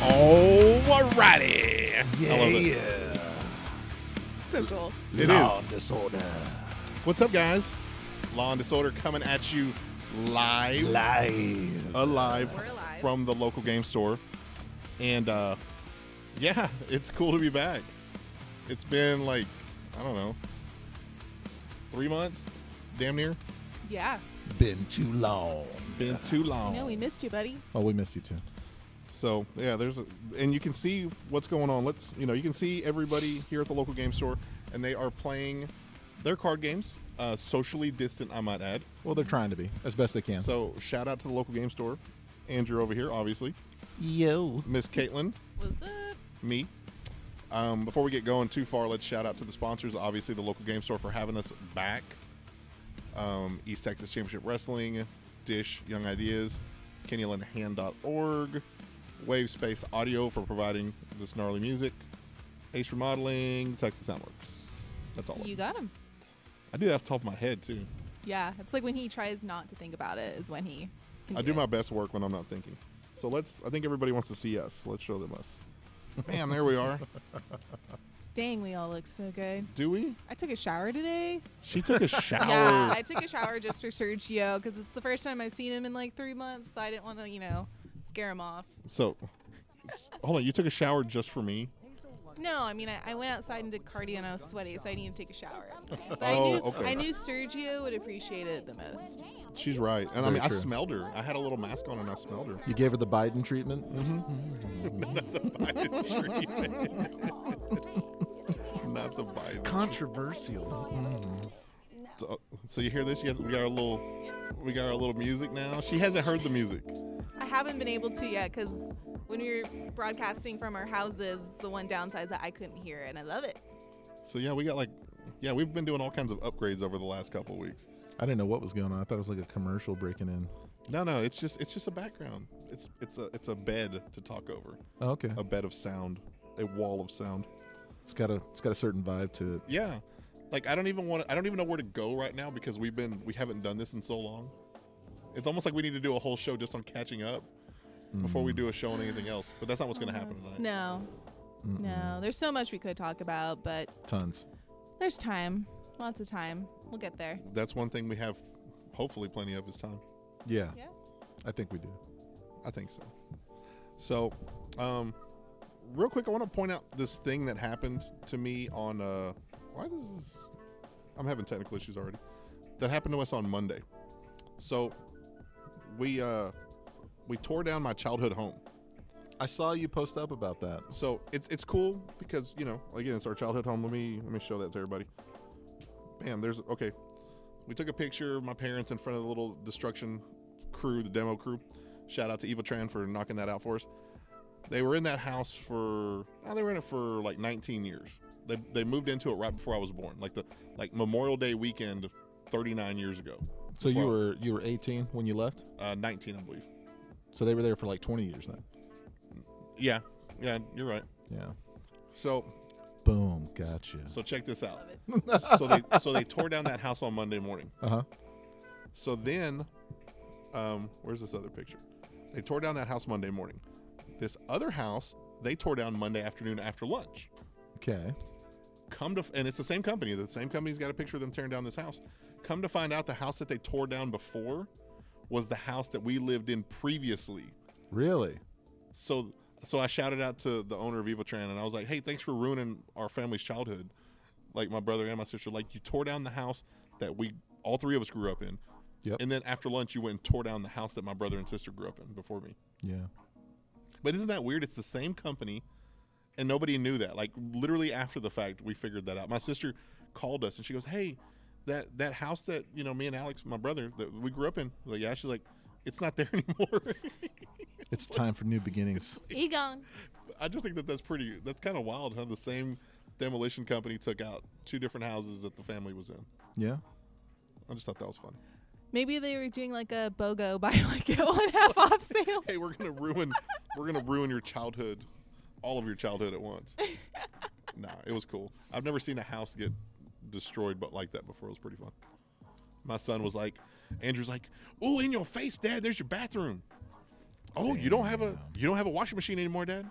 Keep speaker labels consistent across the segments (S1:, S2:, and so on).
S1: Oh, alrighty.
S2: Yeah,
S1: I love it.
S2: yeah.
S3: So cool.
S1: It
S2: Law
S1: is.
S2: disorder.
S1: What's up, guys? Law and Disorder coming at you live,
S2: Live.
S1: alive,
S3: We're alive.
S1: from the local game store. And uh, yeah, it's cool to be back. It's been like, I don't know, three months? Damn near.
S3: Yeah.
S2: Been too long.
S1: Been too
S3: I
S1: long.
S3: know we missed you, buddy.
S2: Oh, we missed you too.
S1: So yeah, there's a, and you can see what's going on. Let's you know you can see everybody here at the local game store, and they are playing their card games, uh, socially distant, I might add.
S2: Well, they're trying to be as best they can.
S1: So shout out to the local game store, Andrew over here, obviously,
S2: yo.
S1: Miss Caitlin,
S3: What's up?
S1: me. Um, before we get going too far, let's shout out to the sponsors. Obviously, the local game store for having us back. Um, East Texas Championship Wrestling, Dish, Young Ideas, KenyalandHand.org, Wave Space Audio for providing this gnarly music, Ace Remodeling, Texas Soundworks. That's all.
S3: You got him.
S1: I do that off the top of my head, too.
S3: Yeah. It's like when he tries not to think about it is when he. Can
S1: I do
S3: it.
S1: my best work when I'm not thinking. So let's, I think everybody wants to see us. Let's show them us. Man, there we are.
S3: Dang, we all look so good.
S1: Do we?
S3: I took a shower today.
S1: She took a shower.
S3: Yeah, I took a shower just for Sergio because it's the first time I've seen him in like three months. So I didn't want to, you know, scare him off.
S1: So, s- hold on. You took a shower just for me?
S3: No, I mean I, I went outside and did cardio and I was sweaty, so I needed to take a shower. But I
S1: Oh,
S3: knew
S1: okay.
S3: I knew Sergio would appreciate it the most.
S1: She's right. And I
S2: Very
S1: mean, I
S2: true.
S1: smelled her. I had a little mask on and I smelled her.
S2: You gave her the Biden treatment.
S1: Not the vibe.
S4: Controversial.
S1: So, so you hear this? You got, we got our little, we got our little music now. She hasn't heard the music.
S3: I haven't been able to yet because when we were broadcasting from our houses, the one downside is that I couldn't hear it, and I love it.
S1: So yeah, we got like, yeah, we've been doing all kinds of upgrades over the last couple weeks.
S2: I didn't know what was going on. I thought it was like a commercial breaking in.
S1: No, no, it's just, it's just a background. It's, it's a, it's a bed to talk over.
S2: Oh, okay.
S1: A bed of sound, a wall of sound.
S2: It's got a it's got a certain vibe to it.
S1: Yeah. Like I don't even want to I don't even know where to go right now because we've been we haven't done this in so long. It's almost like we need to do a whole show just on catching up before we do a show on anything else. But that's not what's going to happen
S3: Mm.
S1: tonight.
S3: No, no, there's so much we could talk about, but
S2: Tons.
S3: there's time, lots of time. We'll get there.
S1: That's one thing we have hopefully plenty of is time.
S2: Yeah,
S3: Yeah.
S2: I think we do.
S1: I think so. So, um real quick I want to point out this thing that happened to me on uh why does this I'm having technical issues already. That happened to us on Monday. So, we uh we tore down my childhood home.
S2: I saw you post up about that.
S1: so it's it's cool because you know again it's our childhood home. Let me let me show that to everybody. Bam, there's okay. We took a picture of my parents in front of the little destruction crew, the demo crew. Shout out to Eva Tran for knocking that out for us. They were in that house for oh, they were in it for like 19 years. They they moved into it right before I was born, like the like Memorial Day weekend, 39 years ago.
S2: So you
S1: Wow.
S2: were you were 18 when you left.
S1: Uh, 19, I believe.
S2: So they were there for like 20 years then.
S1: Yeah, yeah, you're right.
S2: Yeah.
S1: So
S2: Boom. Gotcha.
S1: so check this out.
S3: Love it.
S1: so they so they tore down that house on Monday morning.
S2: Uh huh.
S1: So then, um, where's this other picture? They tore down that house Monday morning. This other house they tore down Monday afternoon after lunch.
S2: Okay.
S1: Come to and it's the same company. The same company's got a picture of them tearing down this house. Come to find out, the house that they tore down before was the house that we lived in previously.
S2: Really?
S1: So so I shouted out to the owner of Evotran and I was like, "Hey, thanks for ruining our family's childhood. Like my brother and my sister, like you tore down the house that we all three of us grew up in.
S2: Yep.
S1: And then after lunch, you went and tore down the house that my brother and sister grew up in before me.
S2: Yeah.
S1: But isn't that weird? It's the same company, and nobody knew that. Like literally after the fact, we figured that out. My sister called us and she goes, "Hey, that that house that you know me and Alex, my brother, that we grew up in." I was like, yeah, she's like, "It's not there anymore."
S2: It's time for new beginnings.
S3: Egon.
S1: I just think that that's pretty. That's kind of wild how the same demolition company took out two different houses that the family was in.
S2: Yeah.
S1: I just thought that was fun.
S3: Maybe they were doing like a BOGO buy like get one half off sale.
S1: Hey, we're gonna ruin, we're gonna ruin your childhood, all of your childhood at once. nah, it was cool. I've never seen a house get destroyed, but like that before. It was pretty fun. My son was like, Andrew's like, "Ooh, in your face, Dad! There's your bathroom." Oh, you don't have a
S2: Damn.
S1: you don't have a washing machine anymore, Dad.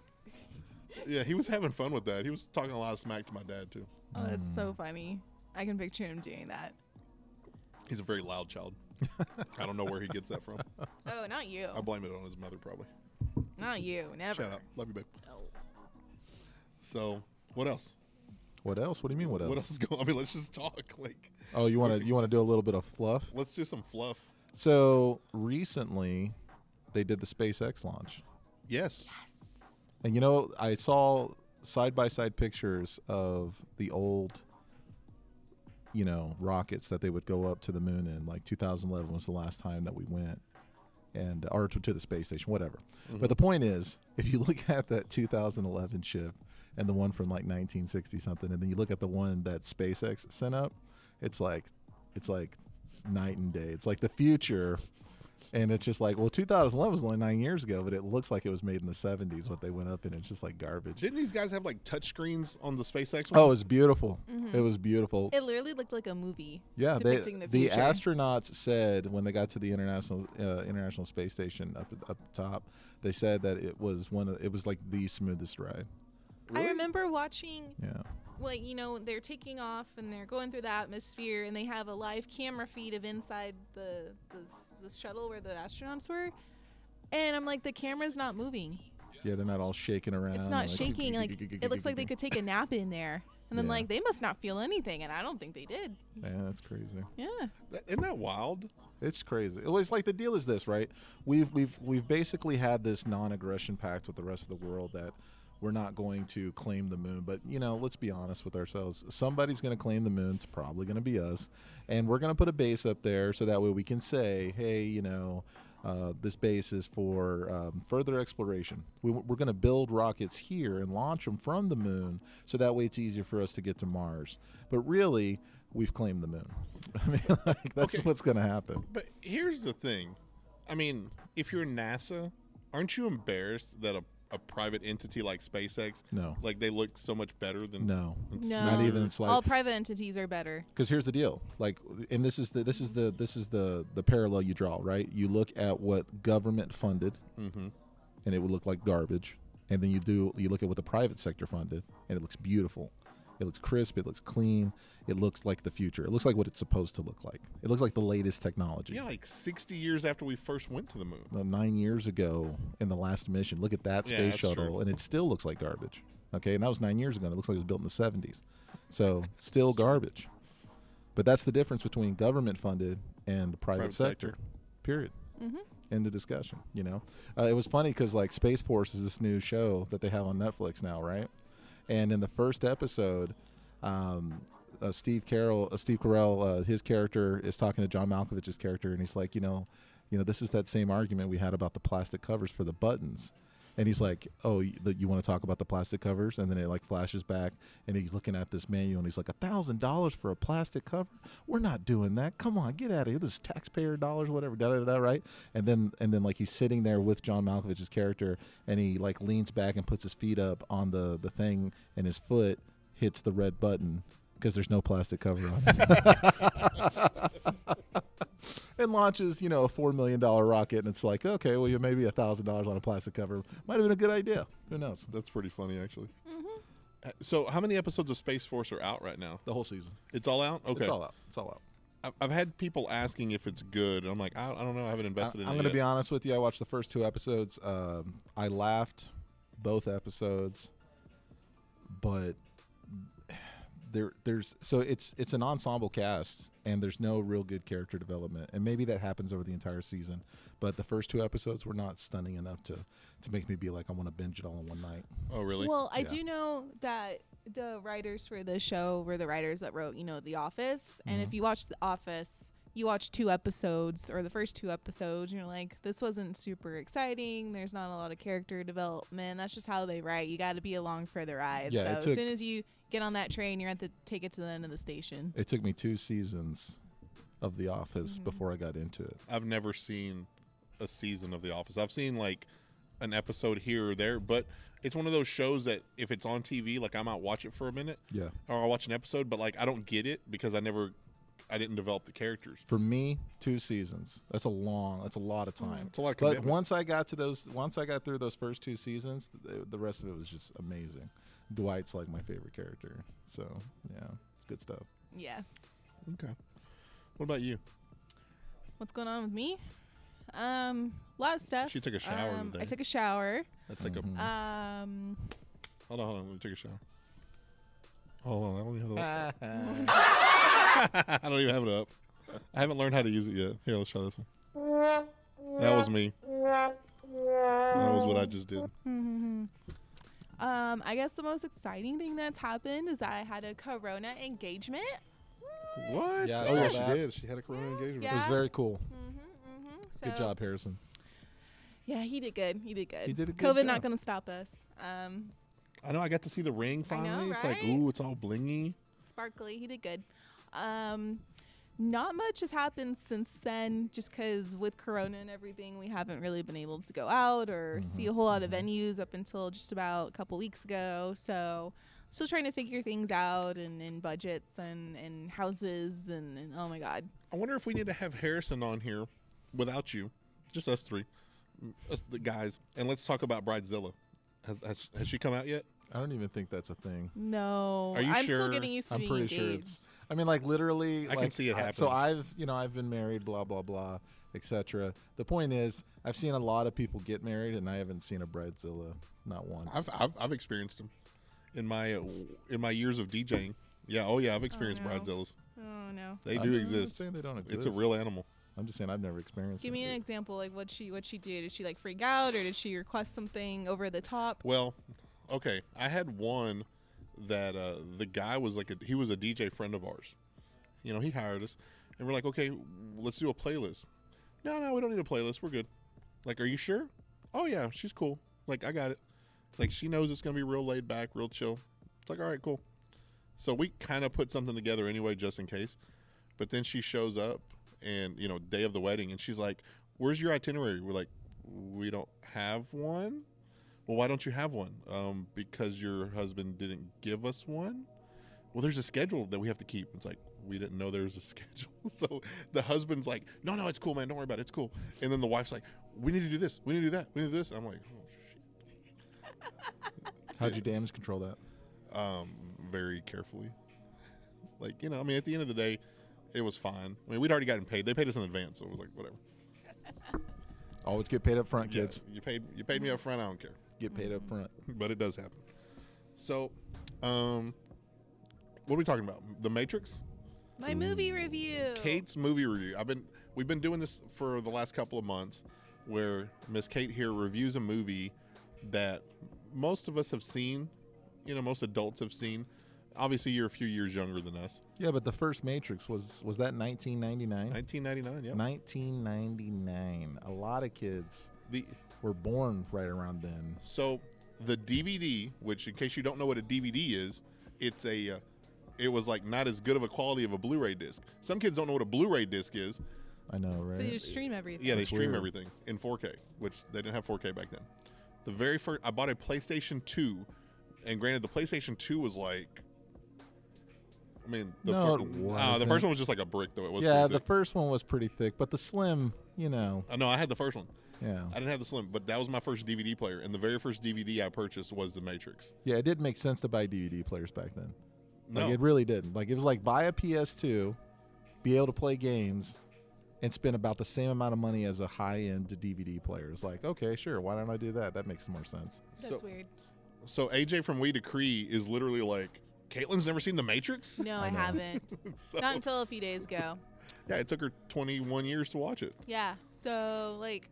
S1: yeah, he was having fun with that. He was talking a lot of smack to my dad too.
S3: Oh, that's so funny. I can picture him doing that.
S1: He's a very loud child. I don't know where he gets that from.
S3: Oh, not you.
S1: I blame it on his mother probably.
S3: Not you. Never.
S1: Shout out, love you, babe.
S3: Oh.
S1: So what else?
S2: What else? What do you mean? What else?
S1: What else is going? I mean, let's just talk. Like,
S2: Oh, you want to you want to do a little bit of fluff?
S1: let's do some fluff.
S2: So recently, they did the SpaceX launch,
S1: Yes.
S2: and you know I saw side by side pictures of the old, you know, rockets that they would go up to the moon in. Like 2011 was the last time that we went, and or to, to the space station, whatever. But the point is, if you look at that 2011 ship and the one from like 1960 something, and then you look at the one that SpaceX sent up, it's like it's like night and day. It's like the future. And it's just like, well, 2011 was only nine years ago, but it looks like it was made in the 70s. What they went up in, it's just like garbage.
S1: Didn't these guys have like touch screens on the SpaceX one?
S2: Oh, it was beautiful. It was beautiful.
S3: It literally looked like a movie.
S2: Yeah, they,
S3: depicting
S2: the,
S3: the future.
S2: astronauts said when they got to the international uh, international space station up up top, they said that it was one of it was like the smoothest ride.
S3: I remember watching
S2: Yeah,
S3: like you know they're taking off and they're going through the atmosphere and they have a live camera feed of inside the the, s- the shuttle where the astronauts were and i'm like the camera's not moving
S2: yeah, they're not all shaking around.
S3: it's not shaking like it looks like they could take a nap in there and then
S2: Yeah.
S3: like they must not feel anything and i don't think they did
S2: Yeah, that's crazy.
S3: yeah
S1: That- Isn't that wild?
S2: It's crazy. Well, It's like the deal is this, right? We've we've we've basically had this non-aggression pact with the rest of the world that we're not going to claim the moon. But you know, let's be honest with ourselves. Somebody's going to claim the moon. It's probably going to be us, and we're going to put a base up there so that way we can say, hey, you know. Uh, this base is for um, further exploration. We, we're going to build rockets here and launch them from the moon, so that way it's easier for us to get to Mars. But really, we've claimed the moon. I mean, like, that's
S1: Okay.
S2: what's going to happen.
S1: But here's the thing. I mean, if you're NASA, aren't you embarrassed that a, a private entity like SpaceX,
S2: No.
S1: like they look so much better than
S2: No.
S1: It's
S3: no
S2: Not even it's
S3: all
S2: like
S3: private entities are better
S2: because here's the deal. Like and this is the this is the this is the the parallel you draw, right? You look at what government funded
S1: Mm-hmm.
S2: and it would look like garbage. And then you do you look at what the private sector funded and it looks beautiful. It looks crisp, it looks clean, it looks like the future. It looks like what it's supposed to look like. It looks like the latest technology.
S1: Yeah, like 60 years after we first went to the moon.
S2: uh, nine years ago in the last mission. Look at that
S1: Yeah,
S2: space
S1: that's
S2: shuttle,
S1: true.
S2: and it still looks like garbage. Okay, and that was nine years ago. And it looks like it was built in the '70s, so still garbage. But that's the difference between government-funded and the private,
S1: Private
S2: sector.
S1: sector.
S2: Period. End of discussion. You know, uh, it was funny because like Space Force is this new show that they have on Netflix now, right? And in the first episode, um, uh, Steve Carroll, uh, Steve Carell, uh, his character is talking to John Malkovich's character, and he's like, you know, you know, this is that same argument we had about the plastic covers for the buttons. And he's like, "Oh, you, you want to talk about the plastic covers?" And then it like flashes back, and he's looking at this manual, and he's like, "A thousand dollars for a plastic cover? We're not doing that. Come on, get out of here. This is taxpayer dollars, whatever." Da da da. da, Right? And then and then like he's sitting there with John Malkovich's character, and he like leans back and puts his feet up on the the thing, and his foot hits the red button because there's no plastic cover on it. and launches, you know, a $4 million rocket. And it's like, okay, well, you maybe $1,000 on a plastic cover. Might have been a good idea. Who knows?
S1: That's pretty funny, actually. Uh, So, how many episodes of Space Force are out right now?
S2: The whole season.
S1: It's all out? Okay.
S2: It's all out. It's all out.
S1: I've, I've had people asking if it's good, and I'm like, I, I don't know. I haven't invested
S2: I,
S1: in
S2: am
S1: it.
S2: going to
S1: yet.
S2: be honest with you. I watched the first two episodes. Um, I laughed both episodes, but there there's so it's it's an ensemble cast and there's no real good character development and maybe that happens over the entire season but the first two episodes were not stunning enough to to make me be like i want to binge it all in one night
S1: Oh, really?
S3: Well, I
S2: Yeah.
S3: do know that the writers for the show were the writers that wrote, you know, The Office. And if you watch The Office, you watch two episodes or the first two episodes, and you're like, this wasn't super exciting. There's not a lot of character development. That's just how they write. You got to be along for the ride.
S2: Yeah, it
S3: so as
S2: took-
S3: soon as you get on that train, you're at the take it to the end of the station.
S2: It took me two seasons of The Office before I got into it.
S1: I've never seen a season of The Office. I've seen like an episode here or there, but it's one of those shows that if it's on TV, like I might watch it for a minute
S2: Yeah.
S1: or I'll watch an episode, but like I don't get it because I never I didn't develop the characters.
S2: For me, two seasons. That's a long. That's a lot of time.
S1: It's a lot of
S2: But
S1: commitment.
S2: once I got to those, once I got through those first two seasons, the, the rest of it was just amazing. Dwight's like my favorite character. So yeah, it's good stuff.
S3: Yeah.
S1: okay. What about you?
S3: What's going on with me? Um, a lot of stuff.
S1: She took a shower
S3: Um,
S1: today.
S3: I took a shower.
S1: That's like
S2: Mhm.
S1: a
S3: Um,
S1: hold on, hold on. Let me take a shower. Hold on, I don't even have the. I don't even have it up. I haven't learned how to use it yet. Here, let's try this one. That was me. That was what I just did.
S3: um, I guess the most exciting thing that's happened is that I had a Corona engagement.
S1: What?
S2: Yeah, I
S1: oh yeah,
S2: saw
S1: she
S2: that.
S1: did. She had a corona engagement.
S2: It was
S3: Yeah.
S2: very cool.
S3: Mm-hmm. So,
S2: Good job, Harrison.
S3: Yeah, he did good. He did good.
S2: He did a good
S3: COVID
S2: job.
S3: not gonna stop us. Um,
S1: I know. I got to see the ring
S3: I know,
S1: finally. It's like,
S3: right?
S1: ooh, it's all blingy.
S3: sparkly. He did good. Um, not much has happened since then, just because with Corona and everything, we haven't really been able to go out or
S2: Mm-hmm.
S3: see a whole lot of venues up until just about a couple weeks ago. So, still trying to figure things out and, and budgets and, and houses and, and oh my god.
S1: I wonder if we need to have Harrison on here without you, just us three, us the guys, and let's talk about Bridezilla. Has, has, has she come out yet?
S2: I don't even think that's a thing.
S3: No,
S1: Are you
S3: I'm
S1: sure?
S3: still getting used to
S2: I'm
S3: being
S2: pretty
S3: engaged.
S2: sure it's. I mean, like literally.
S1: I can
S2: like,
S1: see it
S2: I- So
S1: happening.
S2: I've, you know, I've been married, blah blah blah, etc. The point is, I've seen a lot of people get married, and I haven't seen a bridezilla, not once.
S1: I've, I've, I've experienced them in my uh, in my years of DJing. Yeah, oh yeah, I've experienced
S3: no.
S1: Bridezillas.
S3: oh no.
S1: They
S2: I'm
S1: do
S2: not
S1: exist.
S2: saying they don't
S1: It's a
S2: exist.
S1: real animal.
S2: I'm just saying I've never experienced. it.
S3: Give me an example, like what she what she did. Did she like freak out, or did she request something over the top?
S1: Well, okay, I had one that uh, the guy was like a, he was a DJ friend of ours. You know, he hired us, and we're like, okay, let's do a playlist. No, no, we don't need a playlist. We're good. Like, are you sure? Oh yeah, she's cool. Like, I got it. It's like she knows it's gonna be real laid back, real chill. It's like, all right, cool. So we kind of put something together anyway, just in case. But then she shows up, and you know, day of the wedding, and she's like, "Where's your itinerary?" We're like, "We don't have one." Well, why don't you have one? Um, because your husband didn't give us one. Well, there's a schedule that we have to keep. It's like we didn't know there was a schedule. So the husband's like, "No, no, it's cool, man. Don't worry about it. It's cool." And then the wife's like, "We need to do this. We need to do that. We need to do this." And I'm like, "Oh shit."
S2: How'd you damage control that?
S1: Um, very carefully. Like you know, I mean, at the end of the day, it was fine. I mean, we'd already gotten paid. They paid us in advance, so it was like whatever.
S2: Always get paid up front,
S1: Yeah,
S2: kids.
S1: you paid. You paid me up front. I don't care.
S2: Get paid
S3: Mm-hmm.
S2: up front.
S1: but it does happen. So, um, what are we talking about? The Matrix?
S3: My movie review.
S1: Kate's movie review. I've been we've been doing this for the last couple of months, where Miss Kate here reviews a movie that most of us have seen. You know, most adults have seen. Obviously, you're a few years younger than us.
S2: Yeah, but the first Matrix was was that 1999.
S1: 1999. Yeah.
S2: 1999. A lot of kids
S1: The
S2: were born right around then.
S1: so the DVD, which in case you don't know what a DVD is, it's a uh, it was like not as good of a quality of a Blu-ray disc. Some kids don't know what a Blu-ray disc is.
S2: I know, right?
S3: So you stream everything.
S1: Yeah, they
S2: That's
S1: stream
S2: weird.
S1: everything in 4K, which they didn't have 4K back then. The very first, I bought a PlayStation 2, and granted, the PlayStation 2 was like, I mean, the,
S2: No, it
S1: fir- uh, the
S2: wasn't.
S1: first one was just like a brick, though. It was
S2: yeah,
S1: pretty
S2: the
S1: thick.
S2: first one was pretty thick, but the slim, you know,
S1: Uh, no, I had the first one.
S2: yeah,
S1: I didn't have the slim, but that was my first DVD player, and the very first DVD I purchased was The Matrix.
S2: yeah. It did make sense to buy DVD players back then.
S1: No,
S2: Like it really didn't. Like it was like buy a PS2, be able to play games, and spend about the same amount of money as a high-end DVD player. It's like, okay, sure, why don't I do that? That makes more sense.
S3: That's
S1: So-
S3: weird.
S1: so AJ from We Decree is literally like, Caitlin's never seen The Matrix.
S3: No, I, haven't.
S1: so,
S3: Not until a few days ago.
S1: yeah, it took her 21 years to watch it.
S3: Yeah. So like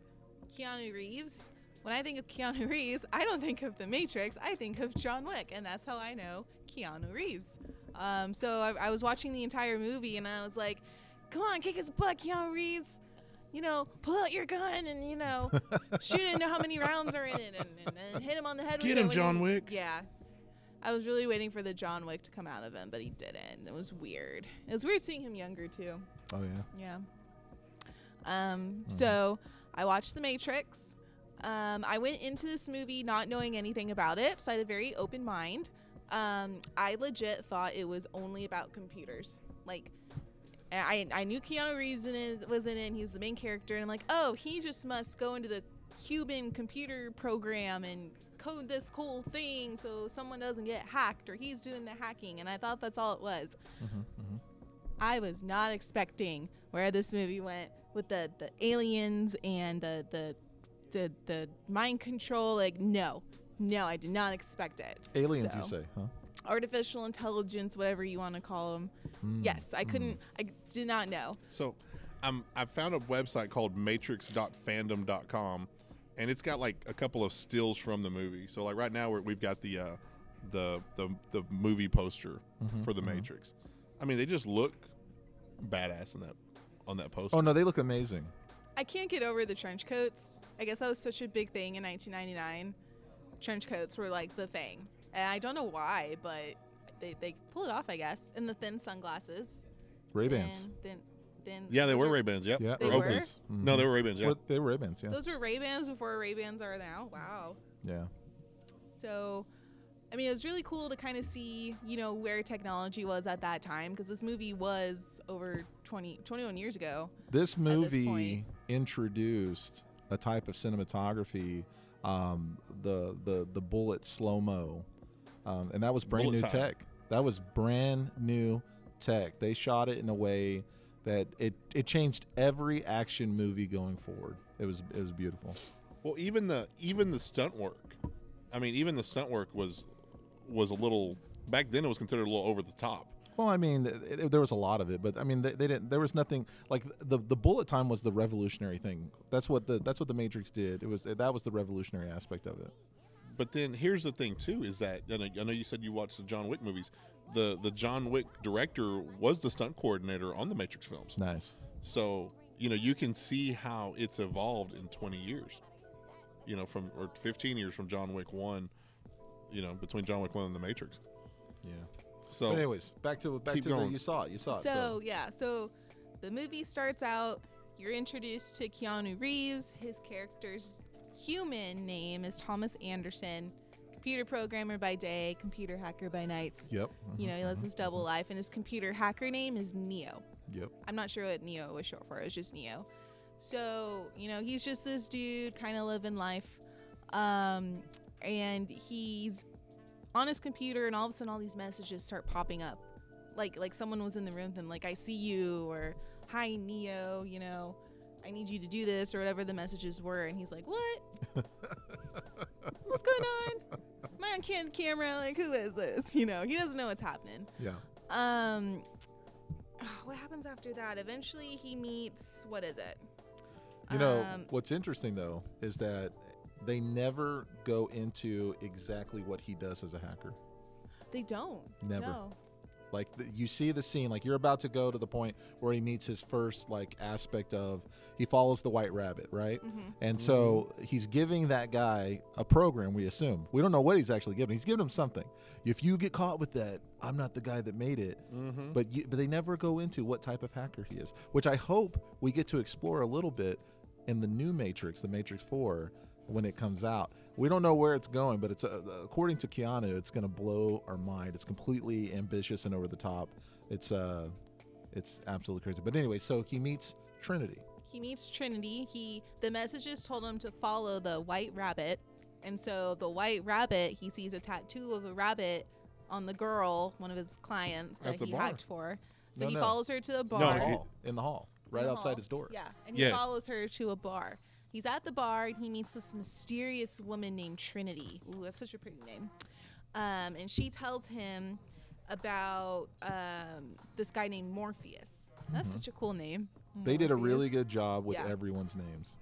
S3: Keanu Reeves. When I think of Keanu Reeves, I don't think of The Matrix. I think of John Wick, and that's how I know Keanu Reeves. Um, so I, I was watching the entire movie, and I was like, "Come on, kick his butt, Keanu Reeves! You know, pull out your gun and you know, shoot it and know how many rounds are in it, and, and, and hit him on the head." with
S1: Get
S3: it
S1: him,
S3: when
S1: John
S3: he-
S1: Wick.
S3: Yeah, I was really waiting for the John Wick to come out of him, but he didn't. It was weird. It was weird seeing him younger too.
S2: Oh yeah.
S3: Yeah. Um, So I watched The Matrix. Um, I went into this movie not knowing anything about it, so I had a very open mind. Um, I legit thought it was only about computers. Like, And I I knew Keanu Reeves in it, was in it. And he's the main character, and I'm like, oh, he just must go into the Cuban computer program and code this cool thing so someone doesn't get hacked or he's doing the hacking. And I thought that's all it was.
S2: Mm-hmm,
S3: I was not expecting where this movie went with the, the aliens and the, the the the mind control. Like no, no, I did not expect it.
S2: Aliens, you
S3: So
S2: say, huh?
S3: artificial intelligence, whatever you want to call them.
S1: Hmm,
S3: Yes, I couldn't, I did not know.
S1: So, um, I found a website called matrix.fandom.com, and it's got like a couple of stills from the movie. So, like right now, we're, we've got the, uh, the the the movie poster
S2: Mm-hmm,
S1: for the Matrix. I mean, they just look badass in that on that poster.
S2: Oh no, they look amazing.
S3: I can't get over the trench coats. I guess that was such a big thing in 1999. Trench coats were like the thing. And I don't know why, but they, they pull it off, I guess. And the thin sunglasses.
S2: Ray Bans.
S3: Thin, thin,
S1: yeah, they
S3: those
S1: were Ray Bans. Yep.
S2: Yeah, Mm-hmm.
S3: They
S1: Or
S3: were?
S1: Oakleys. No, they were Ray Bans. Yeah.
S2: They were Ray Bans. Yeah,
S3: Those were Ray-Bans before Ray-Bans are now. Wow.
S2: yeah.
S3: So, I mean, it was really cool to kind of see, you know, where technology was at that time because this movie was over 20, 21 years ago.
S2: This movie
S3: point.
S2: introduced a type of cinematography, um, the the the bullet slow mo, um, and that was brand
S1: Bullet
S2: new
S1: time.
S2: tech. That was brand new tech. They shot it in a way that it it changed every action movie going forward. It was it was beautiful.
S1: Well, even the even the stunt work. I mean, even the stunt work was was a little back then. It was considered a little over the top.
S2: Well, I mean, th- th- there was a lot of it, but I mean, they, they didn't. There was nothing like the the bullet time was the revolutionary thing. That's what the that's what the Matrix did. It was that was the revolutionary aspect of it.
S1: But then here's the thing too is that I know, I know you said you watched the John Wick movies. The the John Wick director was the stunt coordinator on the Matrix films.
S2: Nice.
S1: So, you know, you can see how it's evolved in 20 years. You know, from or 15 years from John Wick 1, you know, between John Wick 1 and the Matrix.
S2: Yeah.
S1: So,
S2: but anyways, back to back
S1: keep
S2: to
S1: going.
S2: the you saw it. You saw it.
S3: so, yeah, so the movie starts out. You're introduced to Keanu Reeves. His character's human name is Thomas Anderson, computer programmer by day, computer hacker by night.
S2: Yep.
S3: You know, he lives his double life, and his computer hacker name is Neo.
S2: Yep.
S3: I'm not sure what Neo was short for. It was just Neo. So you know, he's just this dude, kind of living life, um, and he's on his computer, and all of a sudden, all these messages start popping up, like like someone was in the room with him, like "I see you" or "Hi Neo," you know. I need you to do this or whatever the messages were, and he's like, "What? What's going on? Am I on cam- camera? Like, who is this? You know, he doesn't know what's happening."
S2: Yeah.
S3: Um, what happens after that? Eventually, he meets what is it?
S2: You know
S3: Um,
S2: what's interesting though is that they never go into exactly what he does as a hacker.
S3: They don't.
S2: Never.
S3: No.
S2: Like the, you see the scene, like you're about to go to the point where he meets his first like aspect of he follows the white rabbit, right? And so he's giving that guy a program. We assume we don't know what he's actually giving. He's giving him something. If you get caught with that, I'm not the guy that made it. But you, but they never go into what type of hacker he is, which I hope we get to explore a little bit in the new Matrix, the Matrix Four, when it comes out. We don't know where it's going, but it's uh, according to Keanu, it's going to blow our mind. It's completely ambitious and over the top. It's uh, it's absolutely crazy. But anyway, so he meets Trinity.
S3: He meets Trinity. He the messages told him to follow the white rabbit, and so the white rabbit he sees a tattoo of a rabbit on the girl, one of his clients
S1: At
S3: that
S1: the
S3: he
S1: bar.
S3: hacked for. So
S2: No,
S3: he
S2: no.
S3: follows her to the bar.
S2: In
S1: he-
S2: the hall, in the hall, right
S3: in the
S2: outside
S3: hall.
S2: his door.
S3: Yeah, and he
S1: Yeah.
S3: follows her to a bar. He's at the bar and he meets this mysterious woman named Trinity. Ooh, that's such a pretty name. Um, and she tells him about um, this guy named Morpheus. That's
S2: Mm-hmm.
S3: such a cool name.
S2: They did a
S3: Morpheus.
S2: really good job with
S3: Yeah. Mm.
S2: everyone's names.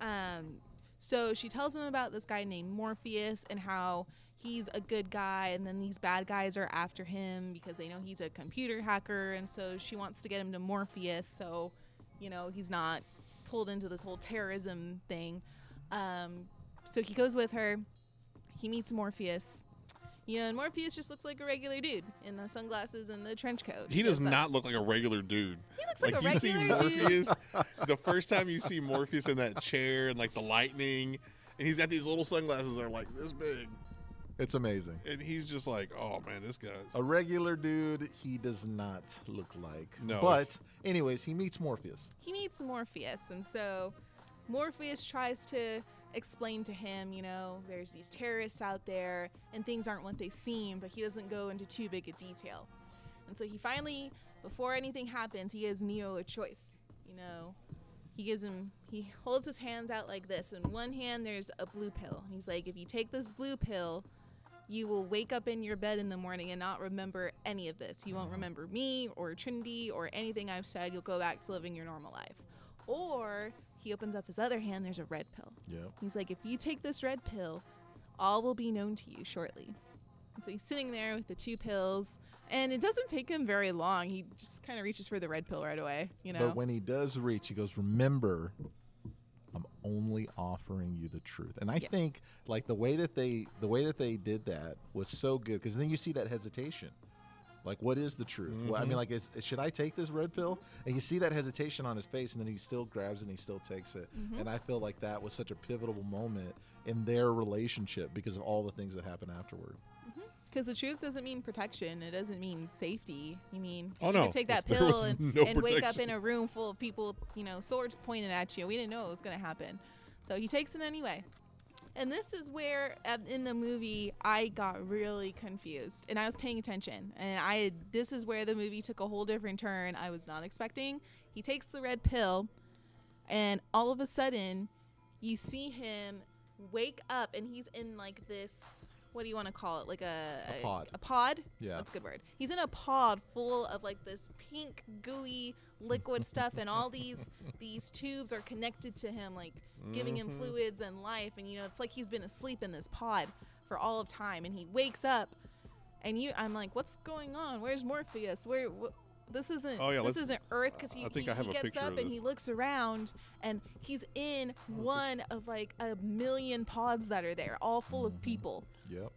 S3: Um, so she tells him about this guy named Morpheus and how he's a good guy, and then these bad guys are after him because they know he's a computer hacker, and so she wants to get him to Morpheus so, you know, he's not pulled into this whole terrorism thing. Um, so he goes with her. He meets Morpheus. You know, and Morpheus just looks like a regular dude in the sunglasses and the trench coat.
S1: he does
S3: Yes, that's-
S1: not look like a regular dude. He
S3: looks like a
S1: you see
S3: regular dude.
S1: Morpheus, the first time you see Morpheus in that chair and like the lightning, and he's got these little sunglasses that are like this big.
S2: It's amazing.
S1: and he's just like, oh man, this guy's
S2: A regular dude, he does not look like.
S1: No.
S2: But anyways, he meets Morpheus.
S3: he meets Morpheus, and so Morpheus tries to explain to him, you know, there's these terrorists out there, and things aren't what they seem, but he doesn't go into too big a detail. And so he finally, before anything happens, he gives Neo a choice. You know, he gives him, he holds his hands out like this. In one hand, there's a blue pill. He's like, if you take this blue pill, you will wake up in your bed in the morning and not remember any of this. You won't remember me or Trinity or anything I've said. You'll go back to living your normal life. Or he opens up his other hand, there's a red pill.
S2: Yep.
S3: He's like, if you take this red pill, all will be known to you shortly. And so he's sitting there with the two pills, and it doesn't take him very long. He just kind of reaches for the red pill right away, you know?
S2: But when he does reach, he goes, "Remember, I'm only offering you the truth." And I
S3: Yes.
S2: think like the way that they the way that they did that was so good because then you see that hesitation. Like, what is the truth? Well, I mean, like, is, should I take this red pill? And you see that hesitation on his face, and then he still grabs it and he still takes it.
S3: Mm-hmm.
S2: And I feel like that was such a pivotal moment in their relationship because of all the things that happened afterward.
S3: Because the truth doesn't mean protection. It doesn't mean safety. You mean
S1: Oh,
S3: you
S1: no.
S3: could take that
S1: There
S3: pill
S1: was
S3: and,
S1: no
S3: and wake up
S1: protection.
S3: in a room full of people, with, you know, swords pointed at you. We didn't know it was going to happen. So he takes it anyway. And this is where um, in the movie I got really confused and I was paying attention. And I this is where the movie took a whole different turn I was not expecting. He takes the red pill and all of a sudden you see him wake up and he's in like this what do you want to call it? Like a,
S2: A pod.
S3: A pod?
S2: Yeah.
S3: That's a good word. He's in a pod full of like this pink gooey liquid stuff and all these these tubes are connected to him like giving him fluids and life and you know it's like he's been asleep in this pod for all of time and he wakes up and you I'm like what's going on? Where's Morpheus? Where wh- this isn't
S1: Oh, yeah,
S3: this
S1: let's-
S3: isn't Earth cuz he,
S1: I think
S3: he,
S1: I have
S3: he
S1: a
S3: gets
S1: picture
S3: up
S1: of
S3: and
S1: this.
S3: he looks around and he's in one of like a million pods that are there, all full
S2: Mm-hmm.
S3: of people.
S2: Yep.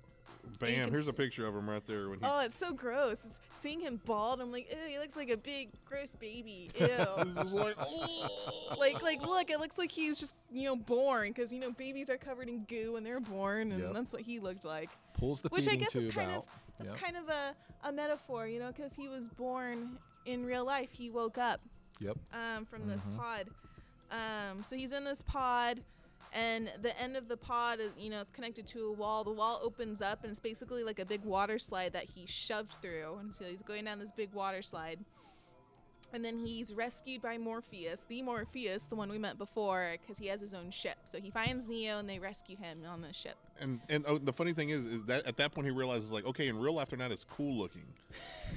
S3: you
S1: bam.
S3: can
S1: Here's a
S3: s-
S1: picture of him right there when he
S3: Oh, it's so gross. It's, seeing him bald, I'm like, ew, he looks like a big gross baby. Ew.
S1: It's like, oh.
S3: like, like, look, it looks like he's just you know born because you know babies are covered in goo when they're born, and
S2: Yep.
S3: that's what he looked like.
S2: Pulls the
S3: Which I
S2: feeding
S3: guess
S2: tube
S3: is kind
S2: out.
S3: of that's
S2: Yep.
S3: kind of a a metaphor, you know, because he was born in real life. He woke up
S2: yep.
S3: um, from this pod. Um, so he's in this pod, and the end of the pod is, you know, it's connected to a wall. The wall opens up, and it's basically like a big water slide that he shoved through. And so he's going down this big water slide. And then he's rescued by Morpheus, the Morpheus, the one we met before, because he has his own ship. So he finds Neo, and they rescue him on the ship.
S1: and and oh, the funny thing is, is that at that point he realizes like, okay, in real life they're not as cool looking.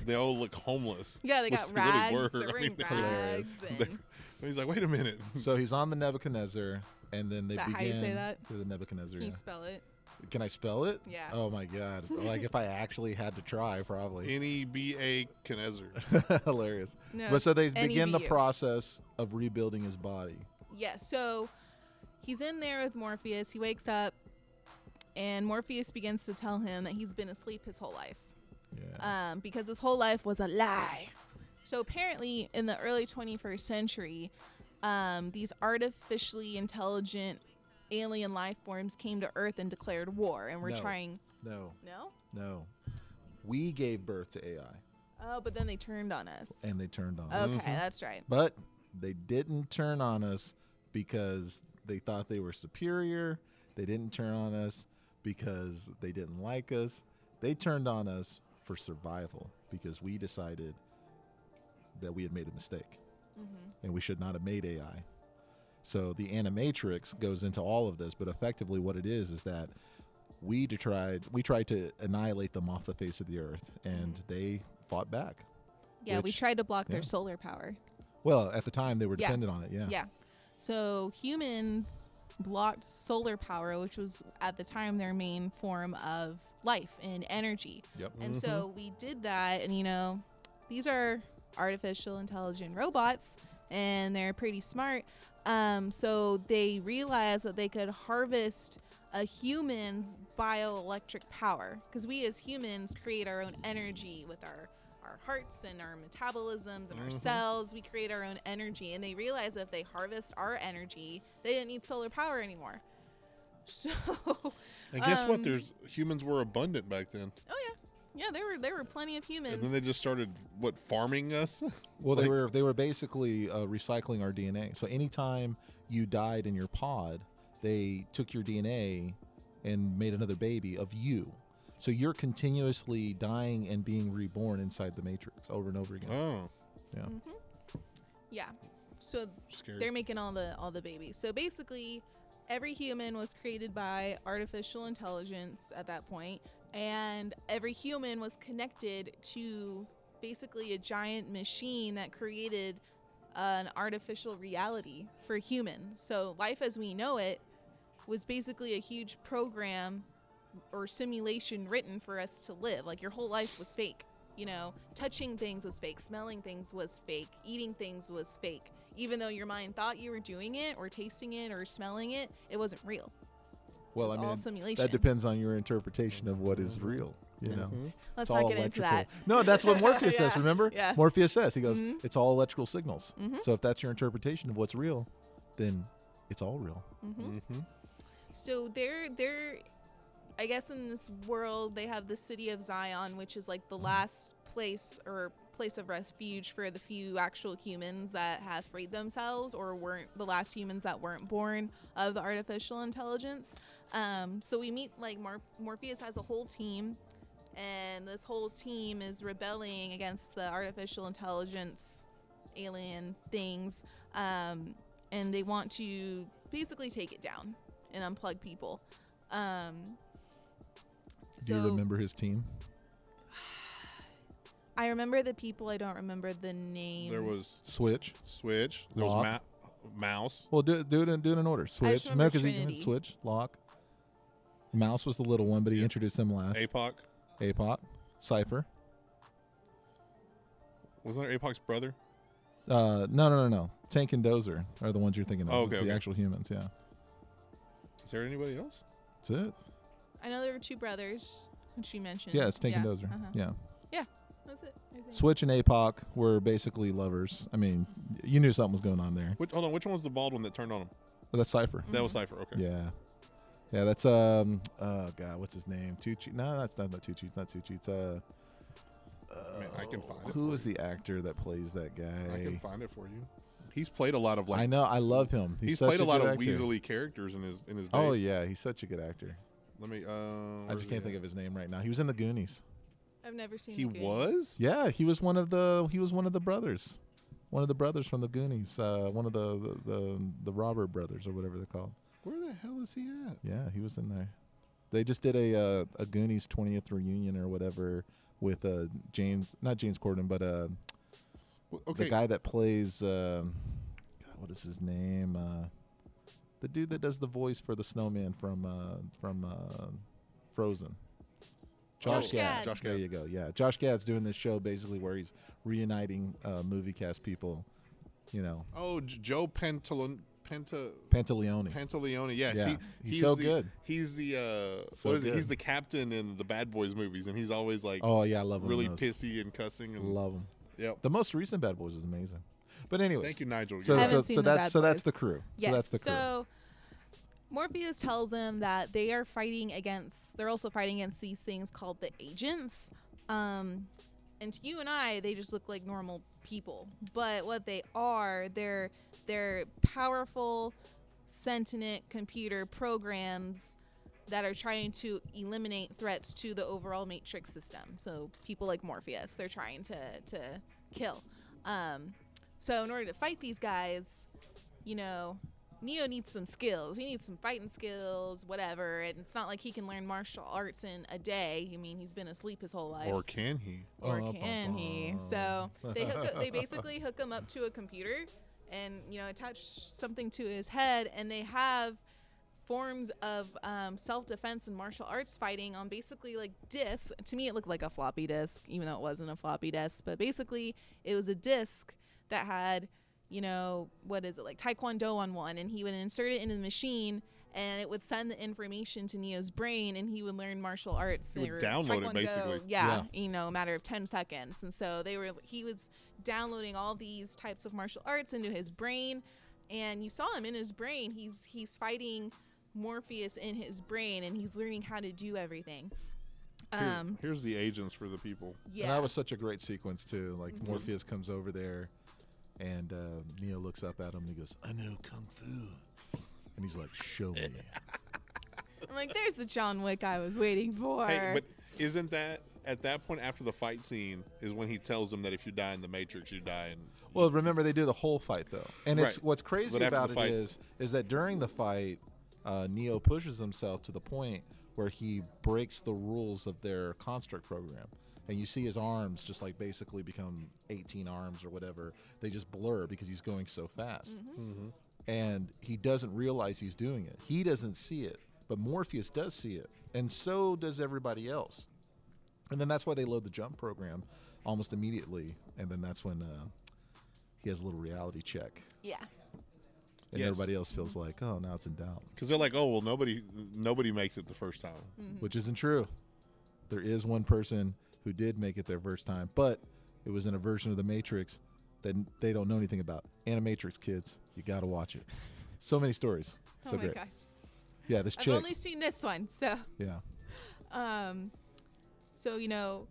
S1: They all look homeless.
S3: Yeah, they
S1: which
S3: got
S1: really
S3: rags.
S1: were.
S3: They're
S1: I
S3: wearing
S1: mean, they-
S3: rags.
S1: they're-
S3: And
S1: and he's like, wait a minute.
S2: So he's on the Nebuchadnezzar, and then they
S3: Is that
S2: begin
S3: how you say that?
S2: the Nebuchadnezzar.
S3: can you
S2: yeah.
S3: spell it?
S2: Can I spell it?
S3: Yeah.
S2: Oh my god! like if I actually had to try, probably
S1: N e b a Knezer.
S2: hilarious.
S3: No,
S2: but so they begin the
S3: NEBU.
S2: process of rebuilding his body.
S3: yeah, so he's in there with Morpheus. He wakes up, and Morpheus begins to tell him that he's been asleep his whole life
S2: Yeah.
S3: um, because his whole life was a lie. So apparently, in the early 21st century, um, these artificially intelligent alien life forms came to Earth and declared war, and we're
S2: No.
S3: trying.
S2: no,
S3: No?
S2: no. We gave birth to AI,
S3: Oh, but then they turned on us.
S2: and Mm-hmm. they turned on us.
S3: Okay, that's right.
S2: But they didn't turn on us because they thought they were superior. They didn't turn on us because they didn't like us. They turned on us for survival because we decided that we had made a mistake
S3: Mm-hmm.
S2: and we should not have made AI. So the animatrix goes into all of this, but effectively what it is is that we de- tried we tried to annihilate them off the face of the earth and
S3: Mm-hmm.
S2: they fought back.
S3: Yeah, we
S2: Which-
S3: tried to block
S2: yeah.
S3: their solar power.
S2: Well, at the time they were
S3: Yeah.
S2: dependent on it, yeah.
S3: Yeah. So humans blocked solar power, which was at the time their main form of life and energy.
S2: Yep.
S3: And
S1: Mm-hmm.
S3: so we did that, and you know, these are artificial intelligent robots, and they're pretty smart. Um, so they realized that they could harvest a human's bioelectric power because we as humans create our own energy with our our hearts and our metabolisms and
S1: Mm-hmm.
S3: our cells we create our own energy and they realized if they harvest our energy they didn't need solar power anymore so
S1: And guess what?
S3: Um,
S1: There's humans were abundant back then,
S3: Oh yeah, yeah. There were there were plenty of humans.
S1: and then they just started what farming us.
S2: Well, they
S1: Like-
S2: were they were basically uh, recycling our DNA. So anytime you died in your pod, they took your DNA and made another baby of you. So you're continuously dying and being reborn inside the matrix over and over again.
S1: oh,
S3: yeah. So
S1: scary.
S3: they're making all the all the babies. So basically, every human was created by artificial intelligence at that point, and every human was connected to basically a giant machine that created an artificial reality for human. So life as we know it was basically a huge program or simulation written for us to live. Like your whole life was fake. You know, touching things was fake, smelling things was fake, eating things was fake. Even though your mind thought you were doing it or tasting it or smelling it, it wasn't real.
S2: well,
S3: it's
S2: I
S3: all
S2: mean,
S3: simulation.
S2: that depends on your interpretation of what is real. You know,
S3: Mm-hmm.
S2: It's
S3: Let's
S2: all
S3: not get into
S2: electrical.
S3: that.
S2: No, that's what Morpheus says.
S3: Yeah,
S2: Remember,
S3: yeah. Mm-hmm.
S2: Morpheus says he goes, "It's all electrical signals." So if that's your interpretation of what's real, then it's all real.
S1: Mm-hmm.
S3: So they're they're I guess in this world they have the city of Zion, which is like the last place or place of refuge for the few actual humans that have freed themselves or weren't the last humans that weren't born of the artificial intelligence. Um, so we meet like Mor- Morpheus has a whole team and this whole team is rebelling against the artificial intelligence alien things um, and they want to basically take it down and unplug people um,
S2: Do you remember his team?
S3: i remember the people i don't remember the names
S1: There was
S2: Switch.
S1: Switch. There was
S2: Lock.
S1: ma- Mouse.
S2: Well, do, do it in, do it in order.
S3: just
S2: Switch.
S3: remember
S2: No, 'cause he-
S3: Trinity.
S2: Switch. Lock. Mouse was the little one, but he
S1: Yeah.
S2: introduced him last.
S1: Apoc.
S2: Apop. Cipher.
S1: Wasn't there Apoc's brother?
S2: Uh, no, no, no, no. Tank and Dozer are the ones you're thinking of.
S1: Oh, okay,
S2: the
S1: okay.
S2: actual humans. Yeah,
S1: Is there anybody else?
S2: that's it.
S3: i know there were two brothers which you mentioned
S2: Yeah, it's Tank and
S3: Yeah,
S2: Dozer.
S3: uh-huh.
S2: Yeah.
S3: that's it I think.
S2: Switch and Apoc were basically lovers. I mean, you knew something was going on there.
S1: Which, hold on. Which one was the bald one that turned on him?
S2: But that's Cipher.
S1: That was Cipher. Okay.
S2: Yeah. Yeah, that's um oh god, what's his name? Tucci. No, that's not not Tucci. It's not Tucci. It's uh
S1: Man, I can find it
S2: Who is the actor that plays that guy?
S1: I can find it for you. He's played a lot of like.
S2: I know. I love him. He's,
S1: he's
S2: such
S1: played a lot
S2: good
S1: of
S2: actor.
S1: Weasley characters in his in his day.
S2: Oh yeah, he's such a good actor.
S1: Let me. Uh,
S2: I just can't think of his name right now. He was in the Goonies.
S3: i've never seen
S1: He
S3: the Goonies.
S1: was.
S2: Yeah, he was one of the he was one of the brothers, one of the brothers from the Goonies. Uh, one of the the, the the Robert brothers or whatever they're called.
S1: Where the hell is he at?
S2: Yeah, he was in there. They just did a uh, a Goonies twentieth reunion or whatever with uh, James, not James Corden, but uh,
S1: Well, Okay.
S2: the guy that plays um God, what is his name? Uh, the dude that does the voice for the snowman from uh, from uh, Frozen.
S3: Josh Gad.
S1: Josh
S2: There
S1: Gad.
S2: you go. Yeah, Josh Gad's doing this show basically where he's reuniting uh, movie cast people. You know,
S1: Oh, J- Joe Pantalon. Penta.
S2: Pantaleone.
S1: Pantaleone, yes,
S2: Yeah,
S1: he,
S2: he's so
S1: the,
S2: good.
S1: He's the uh,
S2: So
S1: what is it?
S2: good.
S1: He's the captain in the Bad Boys movies, and he's always like
S2: oh yeah, I love him. in
S1: really
S2: those.
S1: pissy and cussing. And
S2: Love him.
S1: yep.
S2: The most recent Bad Boys was amazing. But anyways,
S1: Thank you, Nigel.
S2: So,
S1: You're
S3: I
S1: right.
S3: haven't
S2: so,
S3: seen
S2: so
S3: the
S2: that's
S3: Bad
S2: so that's the
S3: Boys.
S2: crew.
S3: Yes.
S2: So that's the crew.
S3: so Morpheus tells them that they are fighting against. They're also fighting against these things called the agents. Um, and to you and I, they just look like normal people. But what they are, they're they're powerful, sentient computer programs that are trying to eliminate threats to the overall matrix system. So people like Morpheus, they're trying to to kill. Um, so in order to fight these guys, you know, Neo needs some skills. He needs some fighting skills, whatever. And it's not like he can learn martial arts in a day. I mean, he's been asleep his whole life
S1: or can he?
S3: or
S2: Bum,
S3: can
S2: bum,
S3: he?
S2: bum.
S3: So they hook up, they basically hook him up to a computer and you know attach something to his head, and they have forms of um, self-defense and martial arts fighting on basically like discs. To me, it looked like a floppy disk, even though it wasn't a floppy disk. But basically, it was a disk that had you know what is it like taekwondo on one, and he would insert it into the machine. And it would send the information to Neo's brain, and he would learn martial arts.
S1: He would
S3: or
S1: download it,
S3: taekwondo.
S1: basically.
S2: Yeah.
S3: yeah, you know, a matter of 10 seconds. And so they were, he was downloading all these types of martial arts into his brain. And you saw him in his brain. He's, he's fighting Morpheus in his brain, and he's learning how to do everything.
S1: Here-
S3: Um,
S1: here's the agents for the people.
S3: yeah,
S2: And that was such a great sequence too. Like Morpheus comes over there, and uh, Neo looks up at him and he goes, "I know kung fu," and he's like, "Show me."
S3: I'm like, there's the John Wick I was waiting for.
S1: Hey, but isn't that at that point after the fight scene is when he tells them that if you die in the Matrix, you die in
S2: well, remember they do the whole fight though, and it's
S1: Right.
S2: what's
S1: But
S2: crazy
S1: after the
S2: about it
S1: fight-
S2: is is that during the fight, uh, Neo pushes himself to the point where he breaks the rules of their construct program. And you see his arms just like basically become 18 arms or whatever. They just blur because he's going so fast. Mm-hmm. and he doesn't realize he's doing it. He doesn't see it, but Morpheus does see it, and so does everybody else. And then that's why they load the jump program almost immediately, and then that's when uh, he has a little reality check,
S3: yeah,
S2: and
S1: Yes.
S2: everybody else feels like, oh, now it's in doubt,
S1: because they're like, oh well, nobody nobody makes it the first time.
S3: Mm. Mm-hmm.
S2: which isn't true. There is one person who did make it their first time, but it was in a version of the Matrix that n- they don't know anything about. Animatrix kids, you got to watch it. So many stories, so
S3: oh my
S2: great.
S3: gosh,
S2: Yeah, this
S3: I've
S2: chick.
S3: only seen this one, so.
S2: yeah.
S3: Um, so you know,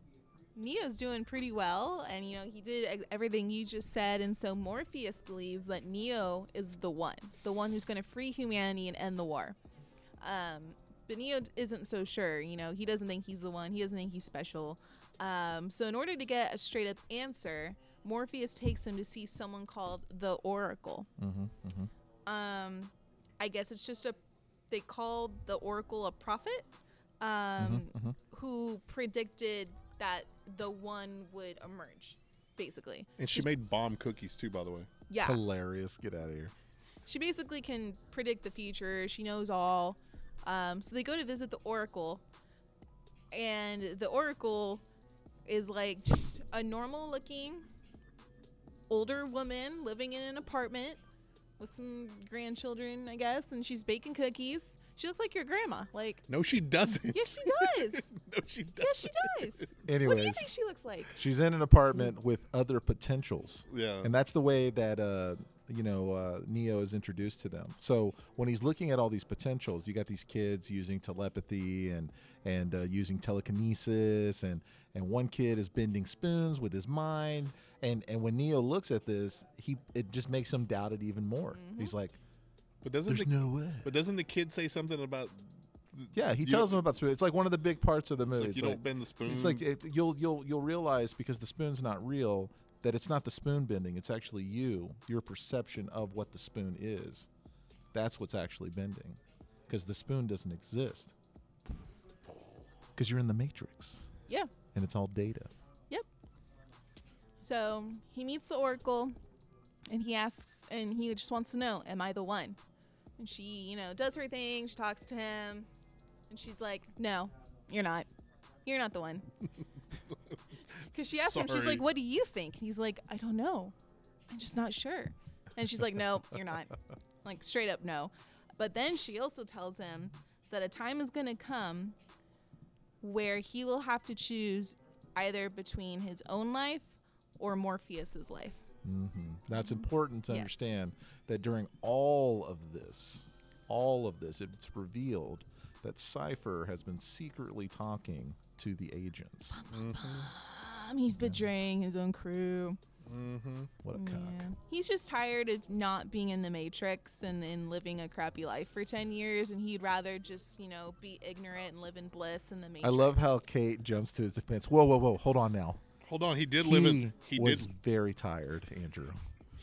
S3: Neo's doing pretty well, and you know he did ex- everything you just said, and so Morpheus believes that Neo is the one, the one who's going to free humanity and end the war. Um, but Neo d- isn't so sure. You know, he doesn't think he's the one. He doesn't think he's special. Um, so in order to get a straight up answer, Morpheus takes him to see someone called the Oracle.
S2: Mm-hmm.
S3: Um, I guess it's just a they called the Oracle a prophet. Um
S2: Mm-hmm.
S3: who predicted that the one would emerge, basically.
S1: And she made bomb cookies too, by the way.
S3: Yeah.
S2: Hilarious. Get out of here.
S3: She basically can predict the future. She knows all. Um, so they go to visit the Oracle, and the Oracle is like just a normal looking older woman living in an apartment with some grandchildren, I guess, and she's baking cookies. She looks like your grandma. Like,
S1: No, she doesn't.
S3: yes, she does.
S1: no, she doesn't.
S3: yes, she does. What do you
S2: Anyways,
S3: think she looks like?
S2: she's in an apartment with other potentials.
S1: Yeah.
S2: And that's the way that uh, you know uh, Neo is introduced to them. So when he's looking at all these potentials, you got these kids using telepathy and and uh, using telekinesis, and and one kid is bending spoons with his mind. And and when Neo looks at this, he it just makes him doubt it even more.
S1: Mm-hmm.
S2: He's like,
S1: but doesn't the,
S2: "There's no way."
S1: but doesn't the kid say something about? th-
S2: Yeah, he
S1: you
S2: tells him
S1: don't-
S2: about spoons. It's like one of the big parts of the
S1: it's
S2: movie.
S1: like, you
S2: It's like-
S1: don't bend the spoon.
S2: It's like it, you'll you'll you'll realize because the spoon's not real that it's not the spoon bending. It's actually you, your perception of what the spoon is. That's what's actually bending, because the spoon doesn't exist. Because you're in the matrix
S3: Yeah.
S2: and it's all data.
S3: So he meets the Oracle and he asks, and he just wants to know, Am I the one? And she, you know, does her thing. She talks to him and she's like, No, you're not. You're not the one. Because she asked him, She's
S1: Sorry.
S3: like, What do you think? And he's like, I don't know. I'm just not sure. And she's like, No, you're not. Like, straight up, no. But then she also tells him that a time is going to come where he will have to choose either between his own life or Morpheus's life.
S2: Now it's important to
S3: Yes.
S2: understand that during all of this, all of this, it's revealed that Cipher has been secretly talking to the agents.
S3: Um, he's betraying his own crew.
S2: What a cock!
S3: He's just tired of not being in the Matrix and, and living a crappy life for 10 years, and he'd rather just, you know, be ignorant and live in bliss in the Matrix.
S2: I love how Kate jumps to his defense. Whoa, whoa, whoa! Hold on now.
S1: Hold on, he did live in. He
S2: was
S1: did.
S2: very tired, Andrew.